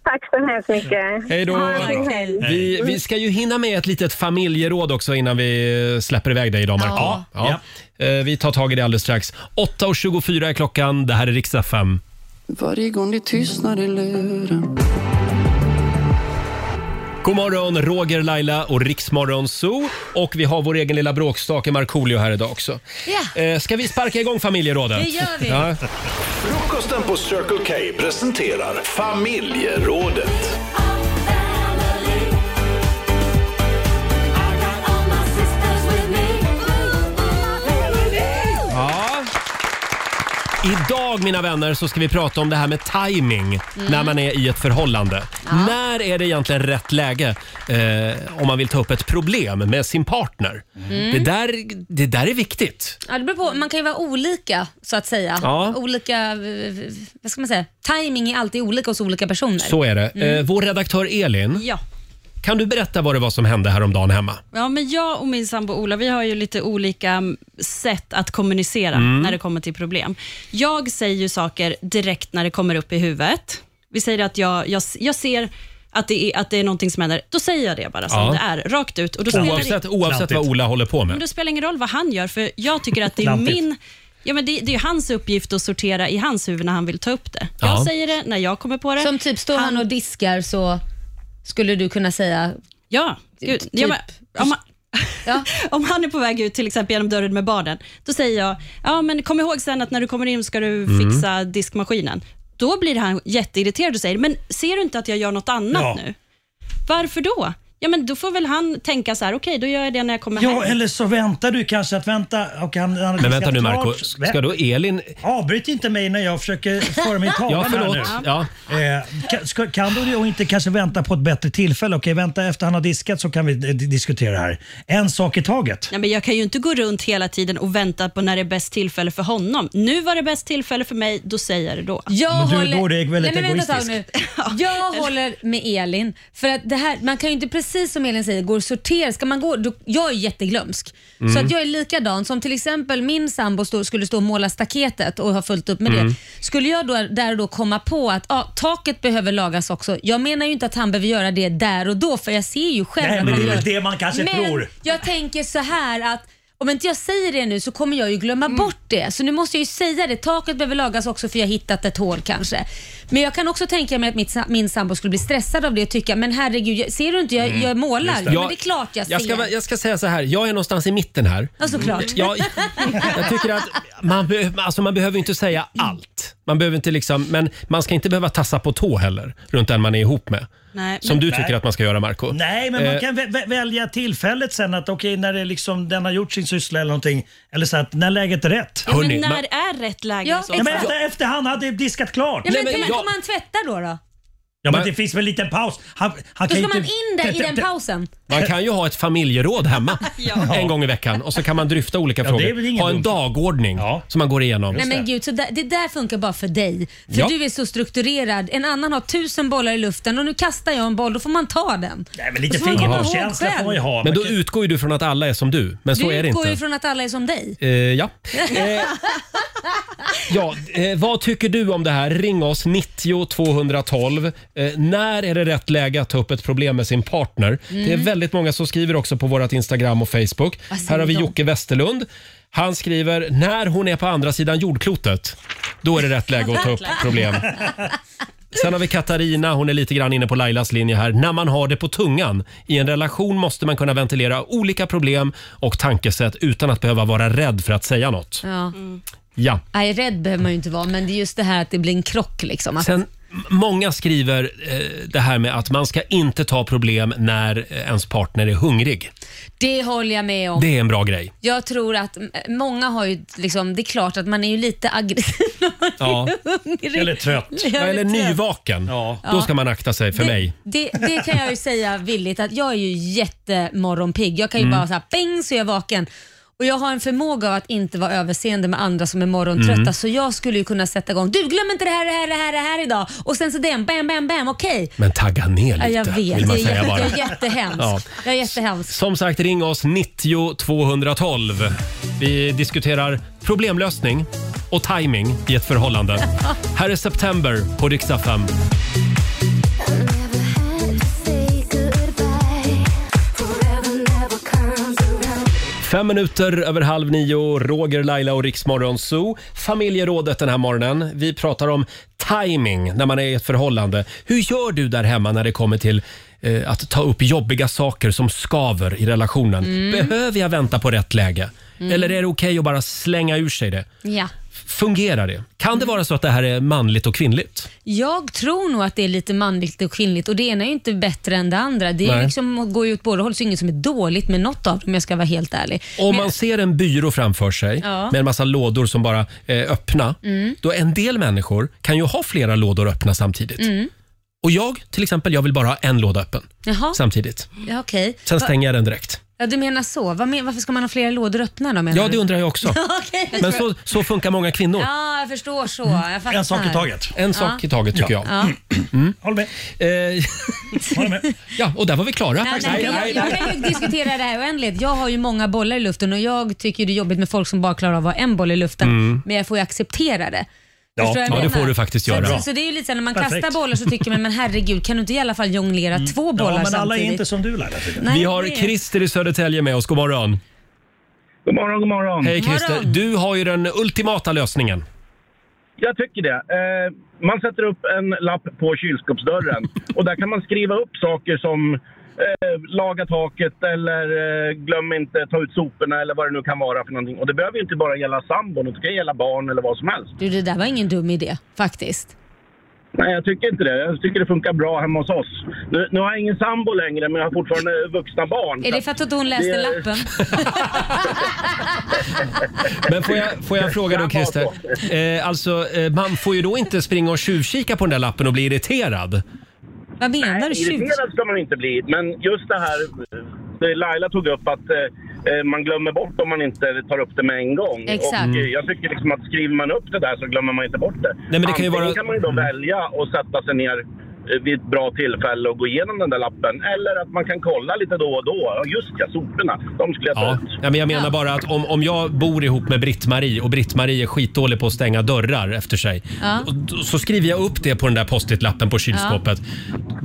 Tack så hemskt mycket. Hej då! Ha en fin helg. Vi, vi ska ju hinna med ett litet familjeråd också innan vi eh, släpper iväg dig idag Marco. Ja. Eh, Vi tar tag i det alldeles strax. 8.24 är klockan. Det här är riksdag 5. Varje gång det tystnar i luren God morgon, Roger, Laila och Riksmorgon Zoo. Och vi har vår egen lilla bråkstake Markoolio här idag också. Yeah. Ska vi sparka igång familjerådet? Det gör vi. Ja. Frukosten på Circle K presenterar familjerådet. Ja. Idag mina vänner så ska vi prata om det här med timing Mm. när man är i ett förhållande. När är det egentligen rätt läge eh, om man vill ta upp ett problem med sin partner? Mm. Det, där, det där är viktigt. Ja, det beror på. Man kan ju vara olika så att säga. Ja. Olika, eh, vad ska man säga? Timing är alltid olika hos olika personer. Så är det. Mm. Eh, vår redaktör Elin, Ja. kan du berätta vad det var som hände häromdagen hemma? Ja, men jag och min sambo Ola, vi har ju lite olika mm, sätt att kommunicera Mm. när det kommer till problem. Jag säger ju saker direkt när det kommer upp i huvudet. Vi säger att jag, jag, jag ser att det, är, att det är någonting som händer. Då säger jag det bara som Ja. det är, rakt ut. Och då spelar Oavsett, det, oavsett vad Ola håller på men med. det spelar ingen roll vad han gör, för jag tycker att det är Klantigt. min... Ja, men det, det är hans uppgift att sortera i hans huvud när han vill ta upp det. Jag Ja. säger det när jag kommer på det. Som typ står han, och diskar så skulle du kunna säga... Ja, Gud, Typ. ja, men, om, han, om han är på väg ut till exempel genom dörren med barnen, då säger jag, ja, men kom ihåg sen att när du kommer in ska du Mm. fixa diskmaskinen. Då blir han jätteirriterad och säger, men ser du inte att jag gör något annat Ja. nu? Varför då? Ja, men då får väl han tänka så här, okej, då gör jag det när jag kommer Ja, hem. eller så väntar du kanske att vänta. Och han, han Men vänta nu klart- Marco, ska då Elin... Avbryt inte mig när jag försöker föra min talan Ja, här förlåt. nu. Ja. Eh, ka- ska, kan du då inte kanske vänta på ett bättre tillfälle? Okej, vänta efter han har diskat så kan vi eh, diskutera det här. En sak i taget. Ja, men jag kan ju inte gå runt hela tiden och vänta på när det är bäst tillfälle för honom. Nu var det bäst tillfälle för mig, då säger jag det då. Jag Men du, håller... då är det väldigt Nej, men vänta ett tag egoistisk. nu. Jag håller med Elin. För att det här, man kan ju inte precis som Elin säger gå och sortera. Ska man gå, då, jag är jätteglömsk. Mm. Så att jag är likadan. Som till exempel min sambo stå, skulle stå och måla staketet och ha fullt upp med Mm. det. Skulle jag då, där och då komma på att ah, taket behöver lagas också. Jag menar ju inte att han behöver göra det där och då för jag ser ju själv Nej, att men han det är gör väl det man kanske men tror. jag tänker så här att om inte jag säger det nu så kommer jag ju glömma bort det. Så nu måste jag ju säga det. Taket behöver lagas också för jag har hittat ett hål kanske. Men jag kan också tänka mig att mitt, sa- min sambo skulle bli stressad av det och tycka, men herregud, jag- ser du inte jag, jag målar? Just Jo, men det är klart jag, jag ser. ska, vara- jag ska säga så här, jag är någonstans i mitten här. Ja, såklart. Jag, jag tycker att man, be, alltså man behöver inte säga allt. Man behöver inte liksom, men man ska inte behöva tassa på tå heller runt den man är ihop med. Nej, Som men- du tycker Nej. att man ska göra Marco Nej, men man Eh, kan vä- vä- välja tillfället sen att okej, när det liksom, den har gjort sin syssla eller någonting. Eller så att när läget är rätt. Ja, men när är rätt läge? Ja, hos oss? men efter, efter han hade diskat klart. Ja, men, men, kommer han tvätta då? då? Ja, men det finns väl en liten paus. Han, han Då kan ska ju man inte- in där i den pausen. Man kan ju ha ett familjeråd hemma en gång i veckan och så kan man dryfta olika Ja, det är väl frågor. ingen Ha en dumt. dagordning som man går igenom. Nej men gud, så där, det där funkar bara för dig. För Ja. du är så strukturerad. En annan har tusen bollar i luften och nu kastar jag en boll, då får man ta den. Nej, men lite Och så får man komma ihåg fingertoppskänsla själv. får man ju ha. Men då utgår ju du från att alla är som du, men så du är det Eh, utgår inte. ju från att alla är som dig. Eh, ja. Ja, eh, vad tycker du om det här? Ring oss 90 212. Eh, när är det rätt läge att ta upp ett problem med sin partner? Mm. Det är väldigt många som skriver också på vårt Instagram och Facebook. Vad säger Här har vi de? Jocke Westerlund. Han skriver, när hon är på andra sidan jordklotet, då är det rätt läge att ta upp problem. Sen har vi Katarina, hon är lite grann inne på Lailas linje här. När man har det på tungan. I en relation måste man kunna ventilera olika problem och tankesätt utan att behöva vara rädd för att säga något. Ja. Ja. Nej, rädd behöver man ju inte vara, men det är just det här att det blir en krock. Liksom, att, Sen, m- många skriver eh, det här med att man ska inte ta problem när eh, ens partner är hungrig. det håller jag med om. Det är en bra grej. Jag tror att m- många har ju, liksom, det är klart att man är ju lite aggressiv när man Ja. är hungrig. Eller trött. Ja, Ja, eller trött. nyvaken. Då ska man akta sig för det, mig. Det, det kan jag ju säga villigt att jag är ju jättemorgonpigg. Jag kan ju Mm. bara så här, bäng så är jag vaken. Och Jag har en förmåga av att inte vara överseende med andra som är morgontrötta Mm. så jag skulle ju kunna sätta igång. Du glöm inte det här, det här, det här, det här idag och sen så den, bam, bam, bam, okej. Men tagga ner Ja, lite jag vet, vill jag, man är säga jätte- bara. jag är jättehemsk. Ja. Jag är jättehemsk. Som sagt, ring oss 90 212. Vi diskuterar problemlösning och timing i ett förhållande. Här är September på riksdag 5. Fem minuter över halv nio, Roger, Laila och Riksmorgon Zoo. Familjerådet den här morgonen. Vi pratar om timing när man är i ett förhållande. Hur gör du där hemma när det kommer till eh, att ta upp jobbiga saker som skaver i relationen? Mm. Behöver jag vänta på rätt läge? Mm. Eller är det okej att bara slänga ur sig det? Ja. Fungerar det? Kan det vara så att det här är manligt och kvinnligt? Jag tror nog att det är lite manligt och kvinnligt och det ena är ju inte bättre än det andra. Det är ju Nej. liksom, går ju åt båda håll, så inget som är dåligt med något av dem om jag ska vara helt ärlig. Om Men- man ser en byrå framför sig Ja. med en massa lådor som bara är öppna, Mm. då en del människor kan ju ha flera lådor öppna samtidigt. Mm. Och jag till exempel, jag vill bara ha en låda öppen Jaha, samtidigt. ja, okej. Sen Va- stänger jag den direkt. Ja, du menar så. Vad men, varför ska man ha flera lådor öppna då menar Ja, du? det undrar jag också. Okej. Men så, så funkar många kvinnor. Ja, jag förstår så. Jag fattar. En sak i taget tycker Ja. jag. Mm. Håll med. Ja, och där var vi klara. Nej, nej, jag, jag kan ju diskutera det här i oändlighet. Jag har ju många bollar i luften och jag tycker det är jobbigt med folk som bara klarar av att ha en boll i luften. Mm. Men jag får ju acceptera det. Ja, Förstår jag vad jag ja, det menar? får du faktiskt Så, göra. att- så det är ju lite så här, när man Perfekt. kastar bollar så tycker man, men herregud kan du inte i alla fall jonglera två bollar Mm. Ja, men samtidigt? alla är inte som du Laila. tydligen. Nej, Vi har det- Christer i Södertälje med oss. God morgon. God morgon, god morgon. Hej God Christer. morgon. Du har ju den ultimata lösningen. Jag tycker det. Eh, man sätter upp en lapp på kylskåpsdörren och där kan man skriva upp saker som eh, laga taket eller eh, glöm inte ta ut soporna eller vad det nu kan vara för någonting. Och det behöver ju inte bara gälla sambon, det kan gälla barn eller vad som helst. Du, det där var ingen dum idé faktiskt. Nej, jag tycker inte det. Jag tycker det funkar bra hemma hos oss. Nu, nu har jag ingen sambo längre, men jag har fortfarande vuxna barn. Är det för att hon läste Det är- lappen? Men får jag, får jag fråga då Christer. Eh, alltså, eh, man får ju då inte springa och tjuvkika på den där lappen och bli irriterad. Vad menar Nej, du? Tjut? irriterad ska man inte bli, men just det här eh, det Laila tog upp att eh, eh, man glömmer bort om man inte tar upp det med en gång. Exakt. Och eh, jag tycker liksom att skriver man upp det där så glömmer man inte bort det. Nej, men det kan ju Antingen vara- kan man ju då välja att sätta sig ner eh, vid ett bra tillfälle och gå igenom den där lappen. Eller att man kan kolla lite då och då. Ja, Just ja, soporna. De skulle jag ta Ja. ut. ja, men jag menar bara att om, om jag bor ihop med Britt-Marie och Britt-Marie är skitdålig på att stänga dörrar efter sig. Ja. Och då- Så skriver jag upp det på den där post-it-lappen på kylskåpet.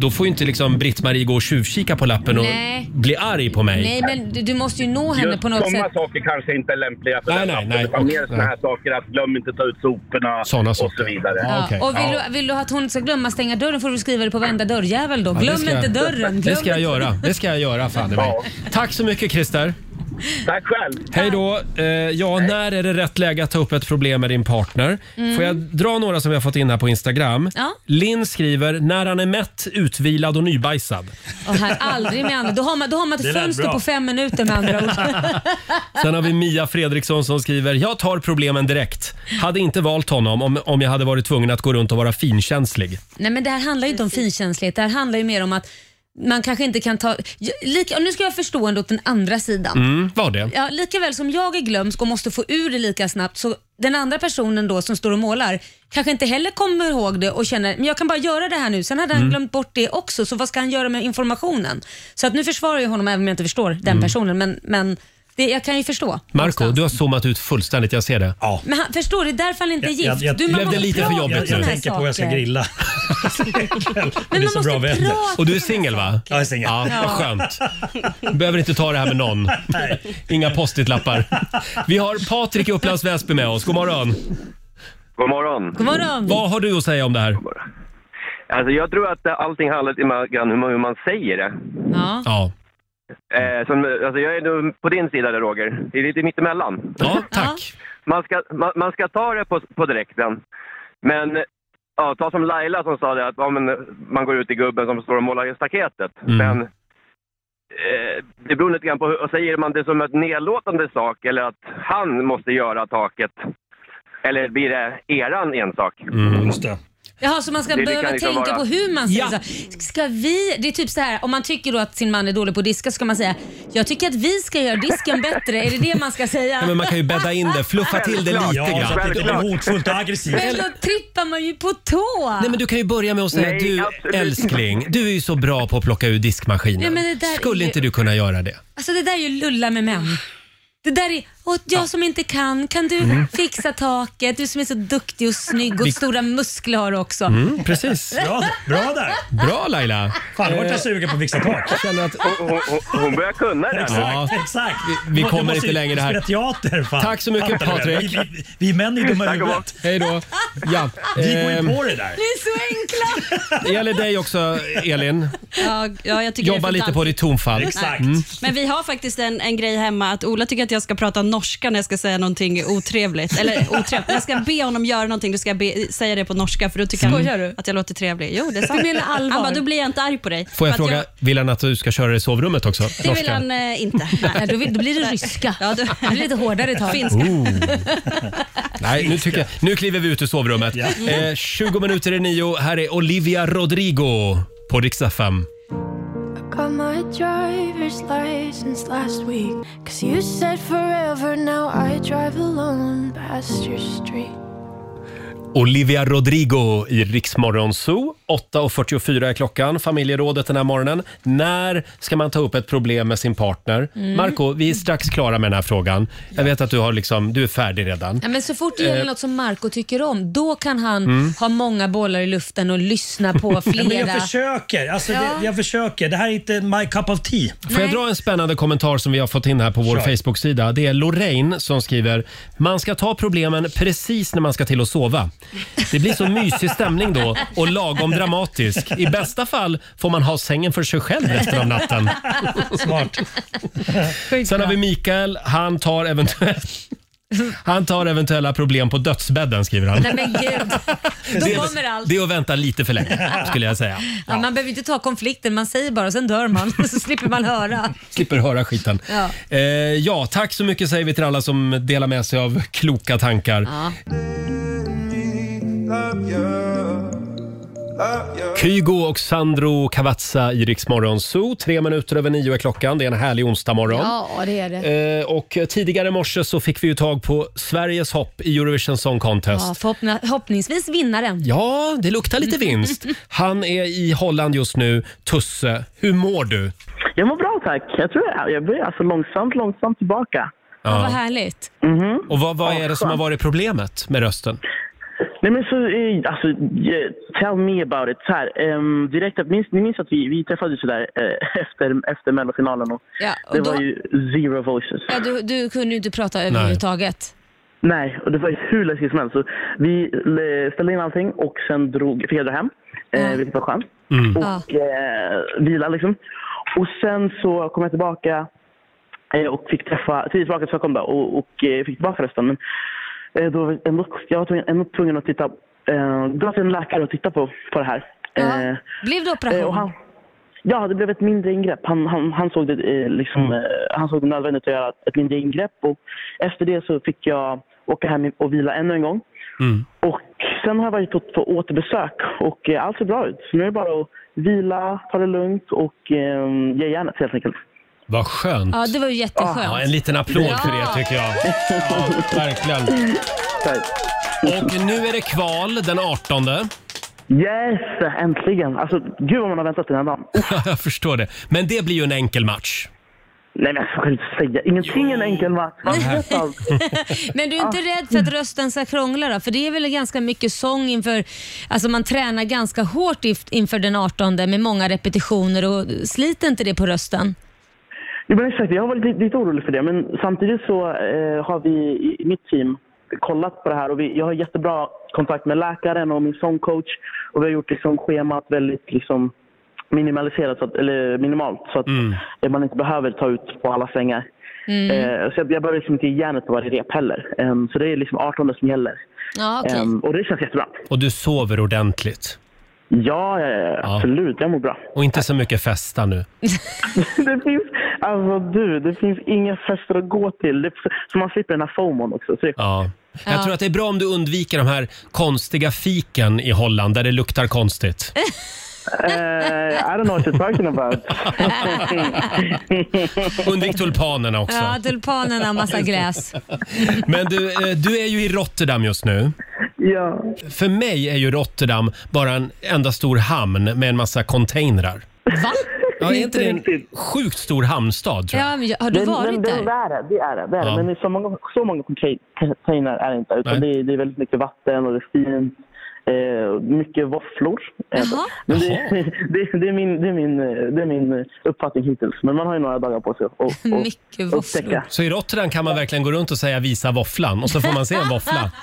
Då får ju inte liksom Britt-Marie gå och tjuvkika på lappen och Nej. bli arg på mig. Nej, men du, du måste ju nå henne Just på något sådana sätt. saker kanske inte är lämpliga för Nej, den nej, lappen. nej. Det var mer Och- sådana här nej. saker att glöm inte ta ut soporna Såna och så saker. vidare. Ja. Och vill, du, vill du att hon ska glömma stänga dörren får du skriva det på varenda dörrjävel då. Ja, det Glöm ska jag- inte dörren. Glöm Det ska jag inte- göra. Det ska jag göra fan i mig. Tack så mycket Christer. Tack själv. Hej då. Eh, ja, när är det rätt läge att ta upp ett problem med din partner? Mm. Får jag dra några som vi har fått in här på Instagram? Ja. Linn skriver, när han är mätt, utvilad och nybajsad. Och här, aldrig med andra. Då har man, då har man Det ett lät fönster bra. på fem minuter med andra ord. Sen har vi Mia Fredriksson som skriver, jag tar problemen direkt. Hade inte valt honom om, om jag hade varit tvungen att gå runt och vara finkänslig. Nej, men det här handlar ju inte om finkänslighet. Det här handlar ju mer om att man kanske inte kan ta... Jag- Lika, och nu ska jag förstå ändå åt den andra sidan. Mm, var det? Ja, lika väl som jag är glömsk och måste få ur det lika snabbt så den andra personen då som står och målar kanske inte heller kommer ihåg det och känner men jag kan bara göra det här nu. Sen hade han Mm. glömt bort det också så vad ska han göra med informationen? Så att nu försvarar jag honom även om jag inte förstår den Mm. personen men, men Det, jag kan ju förstå. Marco, du har zoomat ut fullständigt, jag ser det. Ja. Men han, förstår du, därför han inte är gift. du, det man blev måste lite för prata om jobbigt såna nu. här saker. Men man så måste bra vänner. prata Och du är singel va? Jag är singel. Ja, vad skönt. Du behöver inte ta det här med någon. Inga post-it-lappar. Vi har Patrik i Upplands Väsby med oss. God morgon. God morgon. God morgon. Vad har du att säga om det här? Alltså jag tror att allting handlar lite grann om hur man säger det. Ja. Ja. Eh, som, alltså jag är nog på din sida där Roger. Det är lite mittemellan. Ja, tack. Man ska, man, man ska ta det på, på direkten. Men eh, ja, ta som Laila som sa det att ja, men, eh, man går ut i gubben som står och målar i staketet. Mm. Men eh, det beror lite grann på, hur- och säger man det som ett nedlåtande sak eller att han måste göra taket. Eller blir det eran ensak? Mm. Just det. Jaha, så man ska Det- det behöva kan liksom tänka vara- på hur man säger så. Ska vi, det är typ så här, om man tycker då att sin man är dålig på att diska ska man säga jag tycker att vi ska göra disken bättre. Är det det man ska säga? Ja, men man kan ju bädda in det, fluffa till det lite Ja, grann. så att det inte blir hotfullt och aggressivt. Men då trippar man ju på tå. Nej men du kan ju börja med att säga Nej, du absolut. älskling, du är ju så bra på att plocka ur diskmaskinen. Ja, men det där är Skulle ju- inte du kunna göra det? Alltså det där är ju lulla med män. Det där är, och jag som inte kan, kan du Mm. fixa taket? Du som är så duktig och snygg och Vi- stora muskler har du också. Mm, precis. Bra, bra där. Bra Laila! Fan, nu vart Eh, jag sugen på att fixa tak. Hon, hon, hon börjar kunna det. Exakt, Ja. exakt. Vi Du kommer måste inte ju längre här. spela Teater, fan. Tack så mycket Fattar du det? Patrik. Vi, vi, vi män är dumma i Tack och huvudet. Hej då. Ja, Vi går ehm, ju på det där. Ni är så enkla! Det gäller dig också Elin. Ja, ja, jag tycker det Jobba är lite på ditt tonfall. Exakt. Mm. Men vi har faktiskt en, en grej hemma att Ola tycker att jag ska prata norska när jag ska säga någonting otrevligt. Eller otrevligt. När jag ska be honom göra någonting, då ska jag be, säga det på norska för då tycker Skojar han du? att jag låter trevlig. Jo, det är sant. Du menar allvar? Han bara, då blir jag inte arg på dig. Får jag För att fråga, vill han att du ska köra i sovrummet också? Det vill han eh, inte. Nej, då, vill, då blir det ryska. Ja, då, det blir lite hårdare tag. Finska. Oh. Nej, nu, tycker jag, nu kliver vi ut ur sovrummet. Mm. Eh, 20 minuter i nio. Här är Olivia Rodrigo på riksdag 5. Got my driver's license last week. Cause you said forever, now I drive alone past your street. Olivia Rodrigo i Riksmorgon Zoo. 8.44 är klockan. Familjerådet den här morgonen. När ska man ta upp ett problem med sin partner? Mm. Marco, vi är strax klara med den här frågan. Jag vet att du, har liksom, du är färdig redan. Ja, men så fort det gäller Eh. något som Marco tycker om, då kan han Mm. ha många bollar i luften och lyssna på Nej, flera. Men jag försöker. Alltså, Ja. det, jag försöker. Det här är inte my cup of tea. Får jag dra en spännande kommentar som vi har fått in här på vår Kör. Facebook-sida? Det är Lorraine som skriver “Man ska ta problemen precis när man ska till att sova. Det blir så mysig stämning då och lagom dramatisk. I bästa fall får man ha sängen för sig själv resten av natten.” Smart. Sen har vi Mikael. Han tar eventuellt han tar eventuella problem på dödsbädden, skriver han. Nej men gud, då det, kommer allt. det är att vänta lite för länge, skulle jag säga. Ja, man behöver inte ta konflikten, man säger bara sen dör man så slipper man höra. Slipper höra skiten. Ja. Eh, ja, tack så mycket säger vi till alla som delar med sig av kloka tankar. Kygo och Sandro Cavazza i Rix Morgon Zoo. Tre minuter över nio är klockan. Det är en härlig onsdagmorgon. Ja, det är det. Eh, och tidigare i morse så fick vi ju tag på Sveriges hopp i Eurovision Song Contest. Ja, förhoppna, förhoppningsvis vinnaren. Ja, det luktar lite vinst. Han är i Holland just nu. Tusse, hur mår du? Jag mår bra tack. Jag tror jag, jag börjar alltså långsamt, långsamt tillbaka. Mhm. Ja. Vad härligt. Och vad, vad är det som skönt. har varit problemet med rösten? Nej men så, eh, alltså, eh, tell me about it. Så här, ehm, direkt, att- minns, ni minns att vi, vi träffades sådär eh, efter, efter mellofinalen och Ja, det och då, var ju zero voices. ja, du, du kunde ju inte prata överhuvudtaget. Nej, och det var ju hur läskigt som helst. Så vi eh, ställde in allting och sen drog, fick jag dra hem, eh, vilket var skönt. Mm. Och eh, vila liksom. Och sen så kom jag tillbaka eh, och fick träffa, tidigt tillbaka till Stockholm då, och, och eh, fick tillbaka rösten. Men eh, då var jag ändå, jag var tvungen, ändå tvungen att titta, eh, gå till en läkare och titta på, på det här. Eh, Blev det Eh, och operation? han- Ja, det blev ett mindre ingrepp. Han, han, han, såg, det, eh, liksom, eh, han såg det nödvändigt att göra ett mindre ingrepp. Och efter det så fick jag åka hem och vila ännu en gång. Mm. Och sen har jag varit på, på återbesök och eh, allt ser bra ut. Så nu är det bara att vila, ta det lugnt och eh, ge järnet helt enkelt. Vad skönt. Ja, det var ju jätteskönt. Ja, en liten applåd för Ja. det tycker jag. Ja, verkligen. Och nu är det kval den 18. Yes, äntligen! Alltså, gud vad man har väntat den här dagen. jag förstår det. Men det blir ju en enkel match. Nej men jag ska inte säga. Ingenting är en enkel match. Man vet allt. Men du är inte rädd för att rösten ska krångla då? För det är väl ganska mycket sång inför, alltså man tränar ganska hårt if- inför den 18 med många repetitioner och sliter inte det på rösten? Jo, men exakt. Jag var lite, lite orolig för det. Men samtidigt så eh, har vi i i mitt team kollat på det här och vi, jag har jättebra kontakt med läkaren och min sångcoach. Och vi har gjort liksom schemat väldigt liksom minimaliserat, så att, eller minimalt, så att eh, man inte behöver ta ut på alla svängar. Mm. Eh, så jag, jag behöver liksom inte ge järnet på varje rep heller. Em, så det är liksom 18 som gäller. Ja, okej. Em, och det känns jättebra. Och du sover ordentligt? Ja, ja, ja, absolut. Jag mår bra. Och inte så mycket festa nu? det finns, alltså du, det finns inga fester att gå till. Det, så man slipper den här FOMOn också. Så det, ja. Jag tror att det är bra om du undviker de här konstiga fiken i Holland där det luktar konstigt. Eh, I don't know what you're talking about. Undvik tulpanerna också. Ja, tulpanerna och massa gräs. Men du, eh, du är ju i Rotterdam just nu. Ja. För mig är ju Rotterdam bara en enda stor hamn med en massa containrar. Va? Ja, är inte det en sjukt stor hamnstad tror jag? Ja, men jag- har du Men- varit men, Det där? är det, det är det. det, är Ja. det. Men så många, så många contain- containrar är det inte. Utan det, är- det är väldigt mycket vatten och det är fint. Eh, mycket våfflor. är det. Jaha. Men det, det, det, är min, det, är min, eh, det är min uppfattning hittills. Men man har ju några dagar på sig att att- att Mycket upptäcka. Så i Rotterdam kan man verkligen gå runt och säga visa våfflan och så får man se en våffla.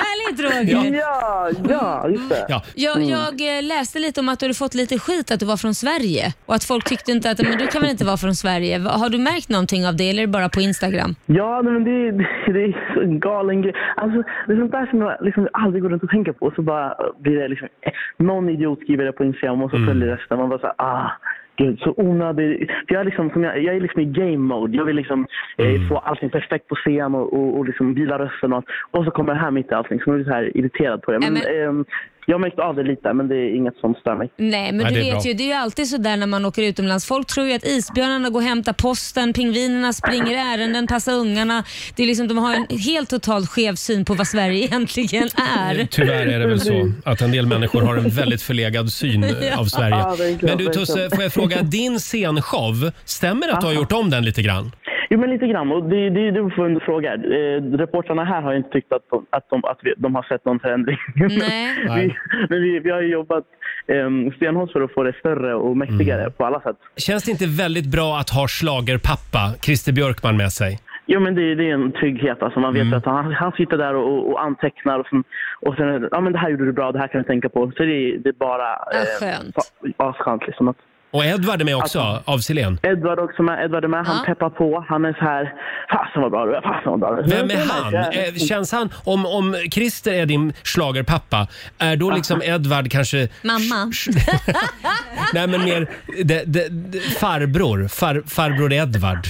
Härligt Roger! Ja, ja, just det. Mm. Ja. Mm. Jag, jag eh, läste lite om att du hade fått lite skit att du var från Sverige och att folk tyckte inte att men du kan väl inte vara från Sverige. Va- Har du märkt någonting av det eller är det bara på Instagram? Ja, nej, men det, det, det är så en galen grej. Alltså, det är sånt där som jag liksom aldrig går runt och tänker på. Och så bara blir det liksom, eh, någon idiot skriver det på Instagram och så följer resten. Man bara så här, ah, gud, så onödig. För jag, är liksom, som jag, jag är liksom i game mode. Jag vill liksom eh, få allting perfekt på scen och, och, och liksom vila rösten och allt. Och så kommer det här mitt i allting. Så man blir så här irriterad på det. Men, ehm, jag har märkt av det lite, men det är inget som stör mig. Nej, men Nej, det du är vet bra. ju, det är ju alltid sådär när man åker utomlands. Folk tror ju att isbjörnarna går och hämtar posten, pingvinerna springer ärenden, passar ungarna. Det är liksom, de har en helt totalt skev syn på vad Sverige egentligen är. Eh, Tyvärr är det väl så att en del människor har en väldigt förlegad syn eh, av Sverige. Ja, verkligen, Men du verkligen. Tusse, får jag fråga, din scenshow, stämmer det att du har gjort om den lite grann? Jo, men lite grann. Och det, det, du får du fråga. Eh, reportrarna här har ju inte tyckt att de, att de, att vi, de har sett någon förändring. Nej. vi, men vi, vi har ju jobbat eh, stenhårt för att få det större och mäktigare Mm. på alla sätt. Känns det inte väldigt bra att ha schlagerpappa Christer Björkman med sig? Jo, men det, det är en trygghet. Alltså, man vet Mm. att han, han sitter där och, och- och antecknar och sen, och sen är det, ja, men det här gjorde du bra, det här kan du tänka på. Så det, det är bara ehm, Ja, skönt. fa- asskönt. Liksom, att, Och Edvard är med också, Alltså, av Silén. Edvard är också med. Edvard är med. Han peppar på. Han är så här, fasen vad bra du är, fasen vad bra du Vem är han? Eh, Känns han, om, om Christer är din schlagerpappa, är då liksom Edvard kanske, Mamma. nej men mer de, de, de, farbror, far, farbror Edvard?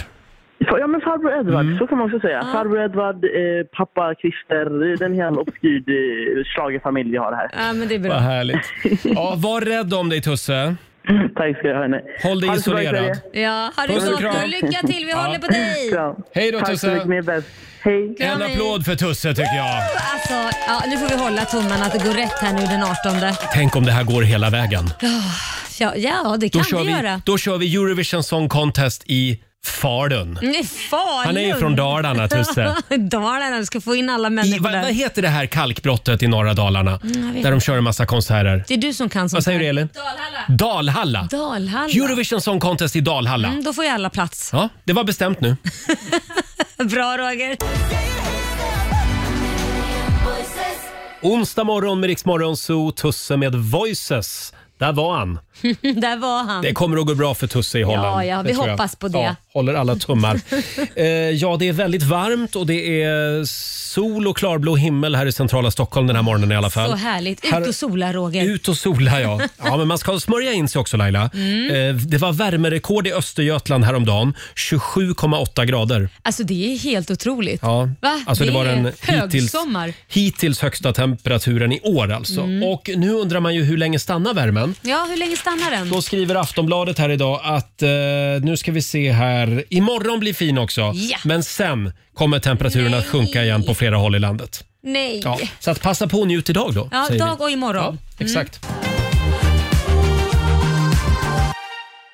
Ja, men farbror Edvard, Mm. så kan man också säga. Farbror Edvard, eh, pappa Christer, det är en hel obskyr eh, schlagerfamilj jag har här. Ja, men det är Vad bra. härligt. Ja, var rädd om dig Tusse. Tack ska du ha. Håll dig Ha det så bra, isolerad. Ja, ha det Puss och gott kram. och lycka till. Vi håller på dig. Hej då Tack så Tusse. mycket, ni är bäst. Hej. En applåd för Tusse tycker jag. Alltså, ja, nu får vi hålla tummarna att det går rätt här nu den 18. Tänk om det här går hela vägen. Ja, ja det kan då, kör vi vi, göra. då kör vi Eurovision Song Contest i Falun. Nej, Falun. Han är ju från Dalarna, Tusse. Dalarna, du ska få in alla I, människor vad, där. vad heter det här kalkbrottet i norra Dalarna? Mm, jag vet där de inte. kör en massa konserter. Det är du som kan sånt Vad säger här. du Elin? Dalhalla. Dalhalla. Dalhalla. Eurovision Song Contest i Dalhalla. Mm, då får ju alla plats. Ja, det var bestämt nu. Bra Roger. Onsdag morgon med Rix Morgon Zoo, Tusse med Voices. Där var han. där var han. Det kommer att gå bra för Tusse i Holland. Ja, ja, Det vi tror jag. hoppas på det. Ja, håller alla tummar. eh, ja, det är väldigt varmt och det är sol och klarblå himmel här i centrala Stockholm den här morgonen i alla fall. Så härligt. Här- Ut och sola Roger. Ut och sola ja. Ja men man ska smörja in sig också Laila. Mm. Eh, Det var värmerekord i Östergötland häromdagen. 27,8 grader. Alltså det är helt otroligt. Ja. Va? Alltså, det, det var är den hittills, högsommar. hittills högsta temperaturen i år alltså. Och nu undrar man ju hur länge stannar värmen? Mm. Ja, hur länge stannar den? Då skriver Aftonbladet här idag att eh, nu ska vi se här. Imorgon blir fin också. Ja. Men sen kommer temperaturen att sjunka igen på flera håll i landet. Nej. Ja, så att passa på och njut idag då. Ja, Mm. säger vi. dag och imorgon. Exakt.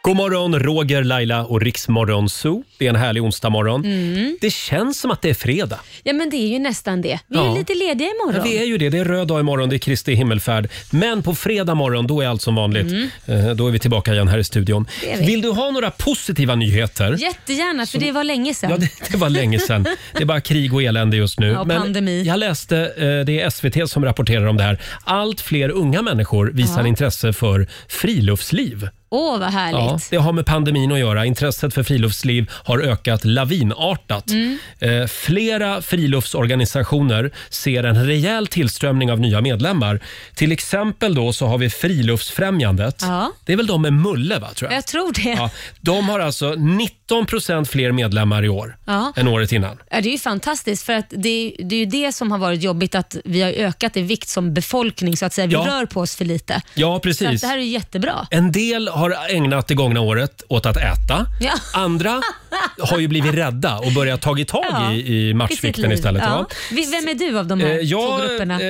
God morgon, Roger, Laila och Riksmorgon Zoo. Det är en härlig onsdagmorgon. Mm. Det känns som att det är fredag. Ja, men det är ju nästan det. Vi är Ja. ju lite lediga imorgon. Ja, vi är ju det. Det är röd dag imorgon, det är Kristi himmelfärd. Men på fredag morgon, då är allt som vanligt. Mm. Eh, Då är vi tillbaka igen här i studion. Det är vi. Vill du ha några positiva nyheter? Jättegärna, för det var länge sedan. Ja, det, det var länge sedan. Det är bara krig och elände just nu. Ja, och pandemi. Jag läste, eh, det är SVT som rapporterar om det här. Allt fler unga människor visar Ja. intresse för friluftsliv. Åh, vad Ja, härligt. det har med pandemin att göra. Intresset för friluftsliv har ökat lavinartat. Mm. Eh, flera friluftsorganisationer ser en rejäl tillströmning av nya medlemmar. Till exempel då så har vi Friluftsfrämjandet. Ja. Det är väl de med Mulle, va, tror jag? Jag tror det. Ja, Ja. de har alltså 19 fler medlemmar i år än året innan. Ja, det är ju fantastiskt för att det, det är ju det som har varit jobbigt att vi har ökat i vikt som befolkning så att säga. Vi Ja. rör på oss för lite. Ja, Så att precis. det här är ju jättebra. En del har ägnat det gångna året åt att äta. Ja. Andra har ju blivit rädda och börjat tagit tag Ja, i, i i sitt matchvikten liv. istället. Ja. Vi- Vem är du av de här Eh, jag, två grupperna?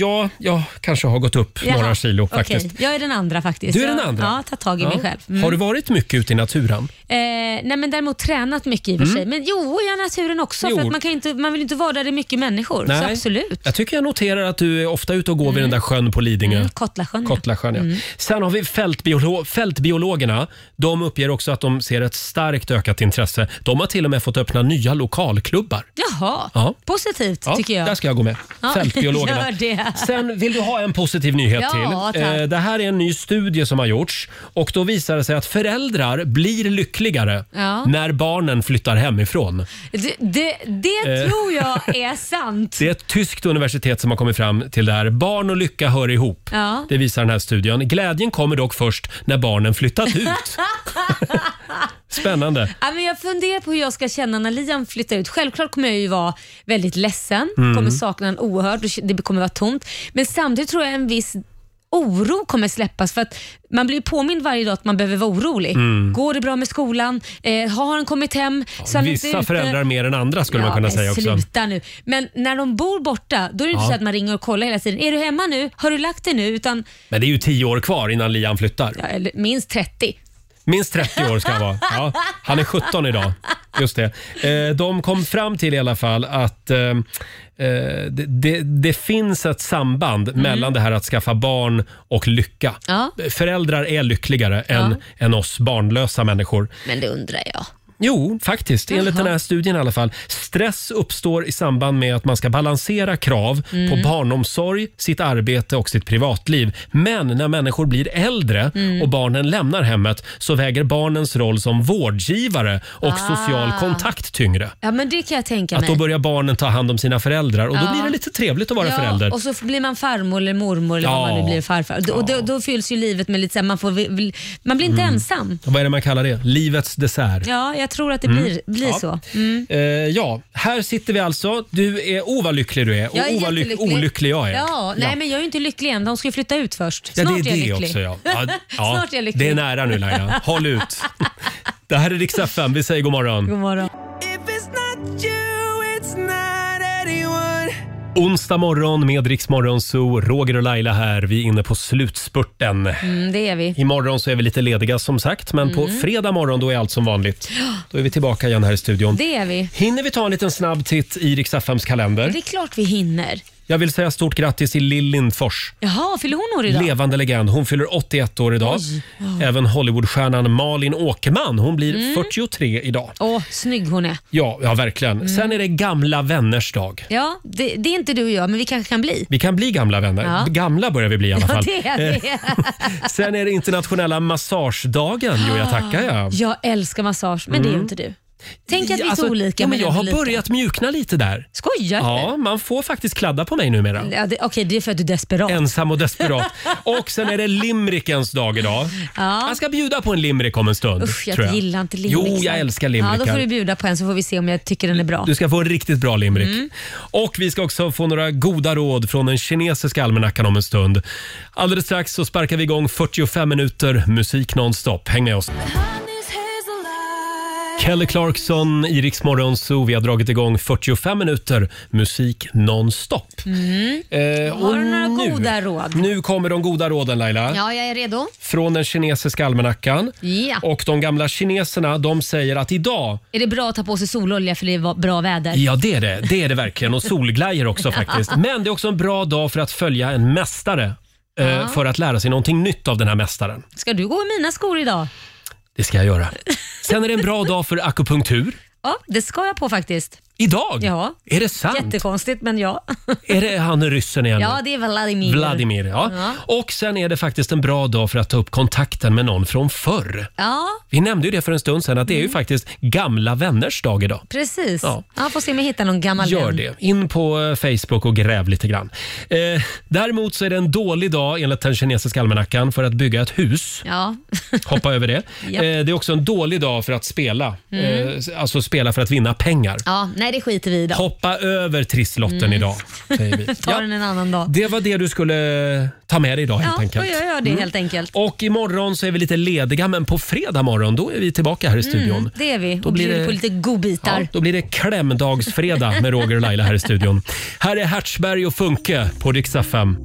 Ja, jag kanske har gått upp Jaha, några kilo okej. faktiskt. Jag är den andra faktiskt. Du är den Jag- andra? Ja, tar tag i mig Ja. själv. Mm. Har du varit mycket ute i naturen? Eh, nej men däremot tränat mycket i och för Mm. sig. Men jo, jag är naturen också. Jo. För att man, kan ju inte, man vill ju inte vara där det är mycket människor. Så absolut. Jag tycker jag noterar att du är ofta ute och går vid den där sjön på Lidingö. Mm, Kottlasjön. Kottlasjön, ja. Sen har vi fältbiolo- fältbiologerna. De uppger också att de ser ett starkt ökat intresse. De har till och med fått öppna nya lokalklubbar. Jaha, Ja. positivt Ja, tycker jag. Där ska jag gå med. Ja, Fältbiologerna. Gör det. Sen vill du ha en positiv nyhet Ja, till. Eh, tack. det här är en ny studie som har gjorts och då visar det sig att föräldrar blir lyckligare Ja. när barnen flyttar hemifrån. Det, det, det Eh. tror jag är sant. Det är ett tyskt universitet som har kommit fram till det här. Barn och lycka hör ihop. Ja. Det visar den här studien. Glädjen kommer dock först när barnen flyttat ut. Spännande. Ja, men jag funderar på hur jag ska känna när Liam flyttar ut. Självklart kommer jag ju vara väldigt ledsen, Mm. kommer sakna honom oerhört, och det kommer vara tomt. Men samtidigt tror jag en viss oro kommer släppas för att man blir påmind varje dag att man behöver vara orolig. Mm. Går det bra med skolan? Eh, har han kommit hem? Så han inte är Vissa ute? föräldrar mer än andra skulle man Ja, kunna men säga också. Sluta nu. Men när de bor borta, då är det inte Ja. så att man ringer och kollar hela tiden. Är du hemma nu? Har du lagt dig nu? Utan Men det är ju tio år kvar innan Liam flyttar. ja, eller minst 30. Minst 30 år ska han vara. Ja, han är 17 idag. Just det. Eh, De kom fram till i alla fall att eh, eh, det, det, det finns ett samband mellan det här att skaffa barn och lycka. Ja. Föräldrar är lyckligare än, än oss barnlösa människor. Men det undrar jag. Jo, faktiskt. Enligt Jaha. den här studien i alla fall. Stress uppstår i samband med att man ska balansera krav Mm. på barnomsorg, sitt arbete och sitt privatliv. Men när människor blir äldre Mm. och barnen lämnar hemmet så väger barnens roll som vårdgivare och Ah. social kontakt tyngre. Ja, men det kan jag tänka Att mig. då börjar barnen ta hand om sina föräldrar och då Ja. blir det lite trevligt att vara ja, förälder. och så blir man farmor eller mormor eller vad Ja. man nu blir farfar. Och då, då fylls ju livet med lite så här, man, får, vill- man blir inte Mm. ensam. Vad är det man kallar det? Livets dessert. Ja, jag tror att det Mm. blir, blir Ja. så. Mm. Eh, ja, här sitter vi alltså. Du är, oh vad lycklig du är och Jag är oh vad lyck- jättelycklig. olycklig jag är. Ja, nej men jag är ju inte lycklig än. De ska ju flytta ut först. Ja, Snart det jag är det lycklig. också. Ja. Ja, ja. Snart är jag lycklig. Det är nära nu Laila. Håll ut. Det här är Rix FM. Vi säger god morgon. God morgon. If it's not you, it's not anyone. Onsdag morgon med Rix Morgon Zoo. Roger och Laila här. Vi är inne på slutspurten. Mm, det är vi. Imorgon så är vi lite lediga som sagt, men på Mm. fredag morgon då är allt som vanligt. Då är vi tillbaka igen här i studion. Det är vi. Hinner vi ta en liten snabb titt i Rix FMs kalender? Det är klart vi hinner. Jag vill säga stort grattis till Lill Lindfors. Jaha, fyller hon år idag? Levande legend. Hon fyller 81 år idag. Oj. Ja. Även Hollywoodstjärnan Malin Åkerman. Hon blir Mm. 43 idag. Åh, snygg hon är. Ja, ja verkligen. Mm. Sen är det gamla vänners dag. Ja, det, det är inte du och jag, men vi kanske kan bli. Vi kan bli gamla vänner. Ja. Gamla börjar vi bli i alla Ja, fall. det är vi. Eh, Sen är det internationella massagedagen. Jo, jag tackar jag. Jag älskar massage, men det är ju Mm. inte du. Tänk att vi är Alltså, så olika. ja, men men jag ändå har lika. börjat mjukna lite där. Skojar du? Ja, man får faktiskt kladda på mig numera. Ja, det, Okej, det är för att du är desperat. Ensam och desperat. Och sen är det limrikens dag idag. Ja. Jag ska bjuda på en limrik om en stund. Usch, jag, tror jag. gillar inte limrikar. Jo, jag älskar Ja, limrikar. då får du bjuda på en så får vi se om jag tycker den är bra. Du ska få en riktigt bra limrik. Mm. Och vi ska också få några goda råd från den kinesiska almanackan om en stund. Alldeles strax så sparkar vi igång 45 minuter musik nonstop. Häng med oss. Kelly Clarkson, i Rix Morgon Zoo. Vi har dragit igång 45 minuter musik nonstop. Mm. Eh, Har och du några nu- goda råd? Nu kommer de goda råden Laila. Ja, jag är redo. Från den kinesiska almanackan. Ja. Och de gamla kineserna de säger att idag Är det bra att ta på sig sololja för det är va- bra väder? Ja, det är det. Det är det verkligen. Och solglajjor också faktiskt. Men det är också en bra dag för att följa en mästare. eh, Ja. För att lära sig någonting nytt av den här mästaren. Ska du gå i mina skor idag? Det ska jag göra. Sen är det en bra dag för akupunktur. Ja, det ska jag på faktiskt. Idag? Ja. Är det sant? Jättekonstigt, men ja. Är det han ryssen igen? Ja, det är Vladimir. Vladimir, ja. Ja. Och sen är det faktiskt en bra dag för att ta upp kontakten med någon från förr. Ja, Mm. Vi nämnde ju det för en stund sedan att det är ju faktiskt gamla vänners dag idag. precis. Ja. Ja. får se om jag hittar någon gammal Gör vän. det. In på eh, Facebook och gräv lite grann. Eh, däremot så är det en dålig dag enligt den kinesiska almanackan för att bygga ett hus. Ja. Hoppa över det. Japp. Eh, det är också en dålig dag för att spela. Mm. Eh, alltså spela för att vinna pengar. ja, nej det skiter vi i då. Hoppa över trisslotten Mm. idag, säger vi. Ta den en annan dag. Det var det du skulle eh, ta med dig idag helt Ja, enkelt. då gör jag det Mm. helt enkelt. Och imorgon så är vi lite lediga, men på fredag morgon då är vi tillbaka här i studion. Mm, det är vi. Då och blir blir det- på lite godbitar. Ja, då blir det klämdagsfredag med Roger och Laila här i studion. Här är Hertzberg och Funke på riksdag 5.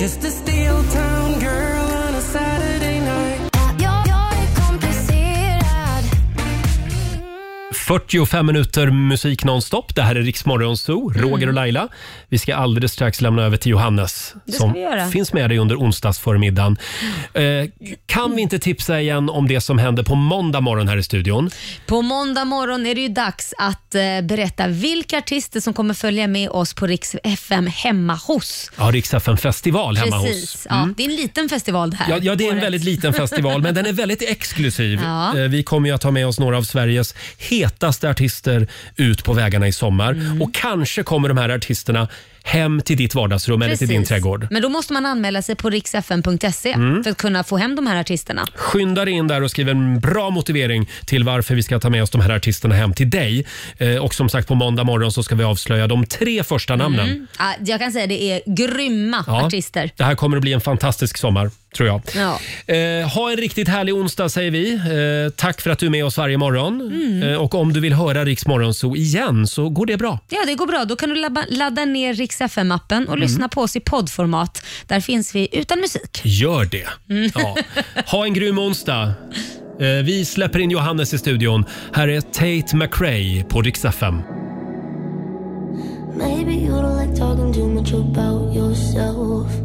Just a steel town girl on a Saturday night. Jag, jag är komplicerad 45 minuter musik nonstop. Det här är Riksmorgon Zoo, Mm. Roger och Laila. Vi ska alldeles strax lämna över till Johannes Det ska som vi göra. Mm. finns med dig under onsdagsförmiddagen. Eh, kan vi inte tipsa igen om det som händer på måndag morgon här i studion? På måndag morgon är det ju dags att eh, berätta vilka artister som kommer följa med oss på Rix FM hemma hos. Ja, Rix festival hemma Precis. hos. Ja, Mm. Det är en liten festival det här. Ja, ja, det är en väldigt liten festival, men den är väldigt exklusiv. Ja. Eh, Vi kommer ju att ta med oss några av Sveriges hetaste artister ut på vägarna i sommar. Mm. Och kanske kommer de här artisterna hem till ditt vardagsrum eller till din Precis. trädgård. Men då måste man anmäla sig på riksfn.se Mm. för att kunna få hem de här artisterna. Skynda dig in där och skriv en bra motivering till varför vi ska ta med oss de här artisterna hem till dig. Eh, Och som sagt, på måndag morgon så ska vi avslöja de tre första namnen. Mm. Ja, jag kan säga det är grymma Ja. artister. Det här kommer att bli en fantastisk sommar, tror jag. Ja. Eh, ha en riktigt härlig onsdag säger vi. Eh, tack för att du är med oss varje morgon. Mm. Eh, och om du vill höra Riks Morgonzoo igen så går det bra. Ja, det går bra. Då kan du labba, ladda ner Rix FM-appen och lyssna på oss i poddformat. Där finns vi utan musik. Gör det. Mm. Ja. Ha en grym onsdag. Eh, vi släpper in Johannes i studion. Här är Tate McRae på Rix FM. Maybe you don't like talking too much about yourself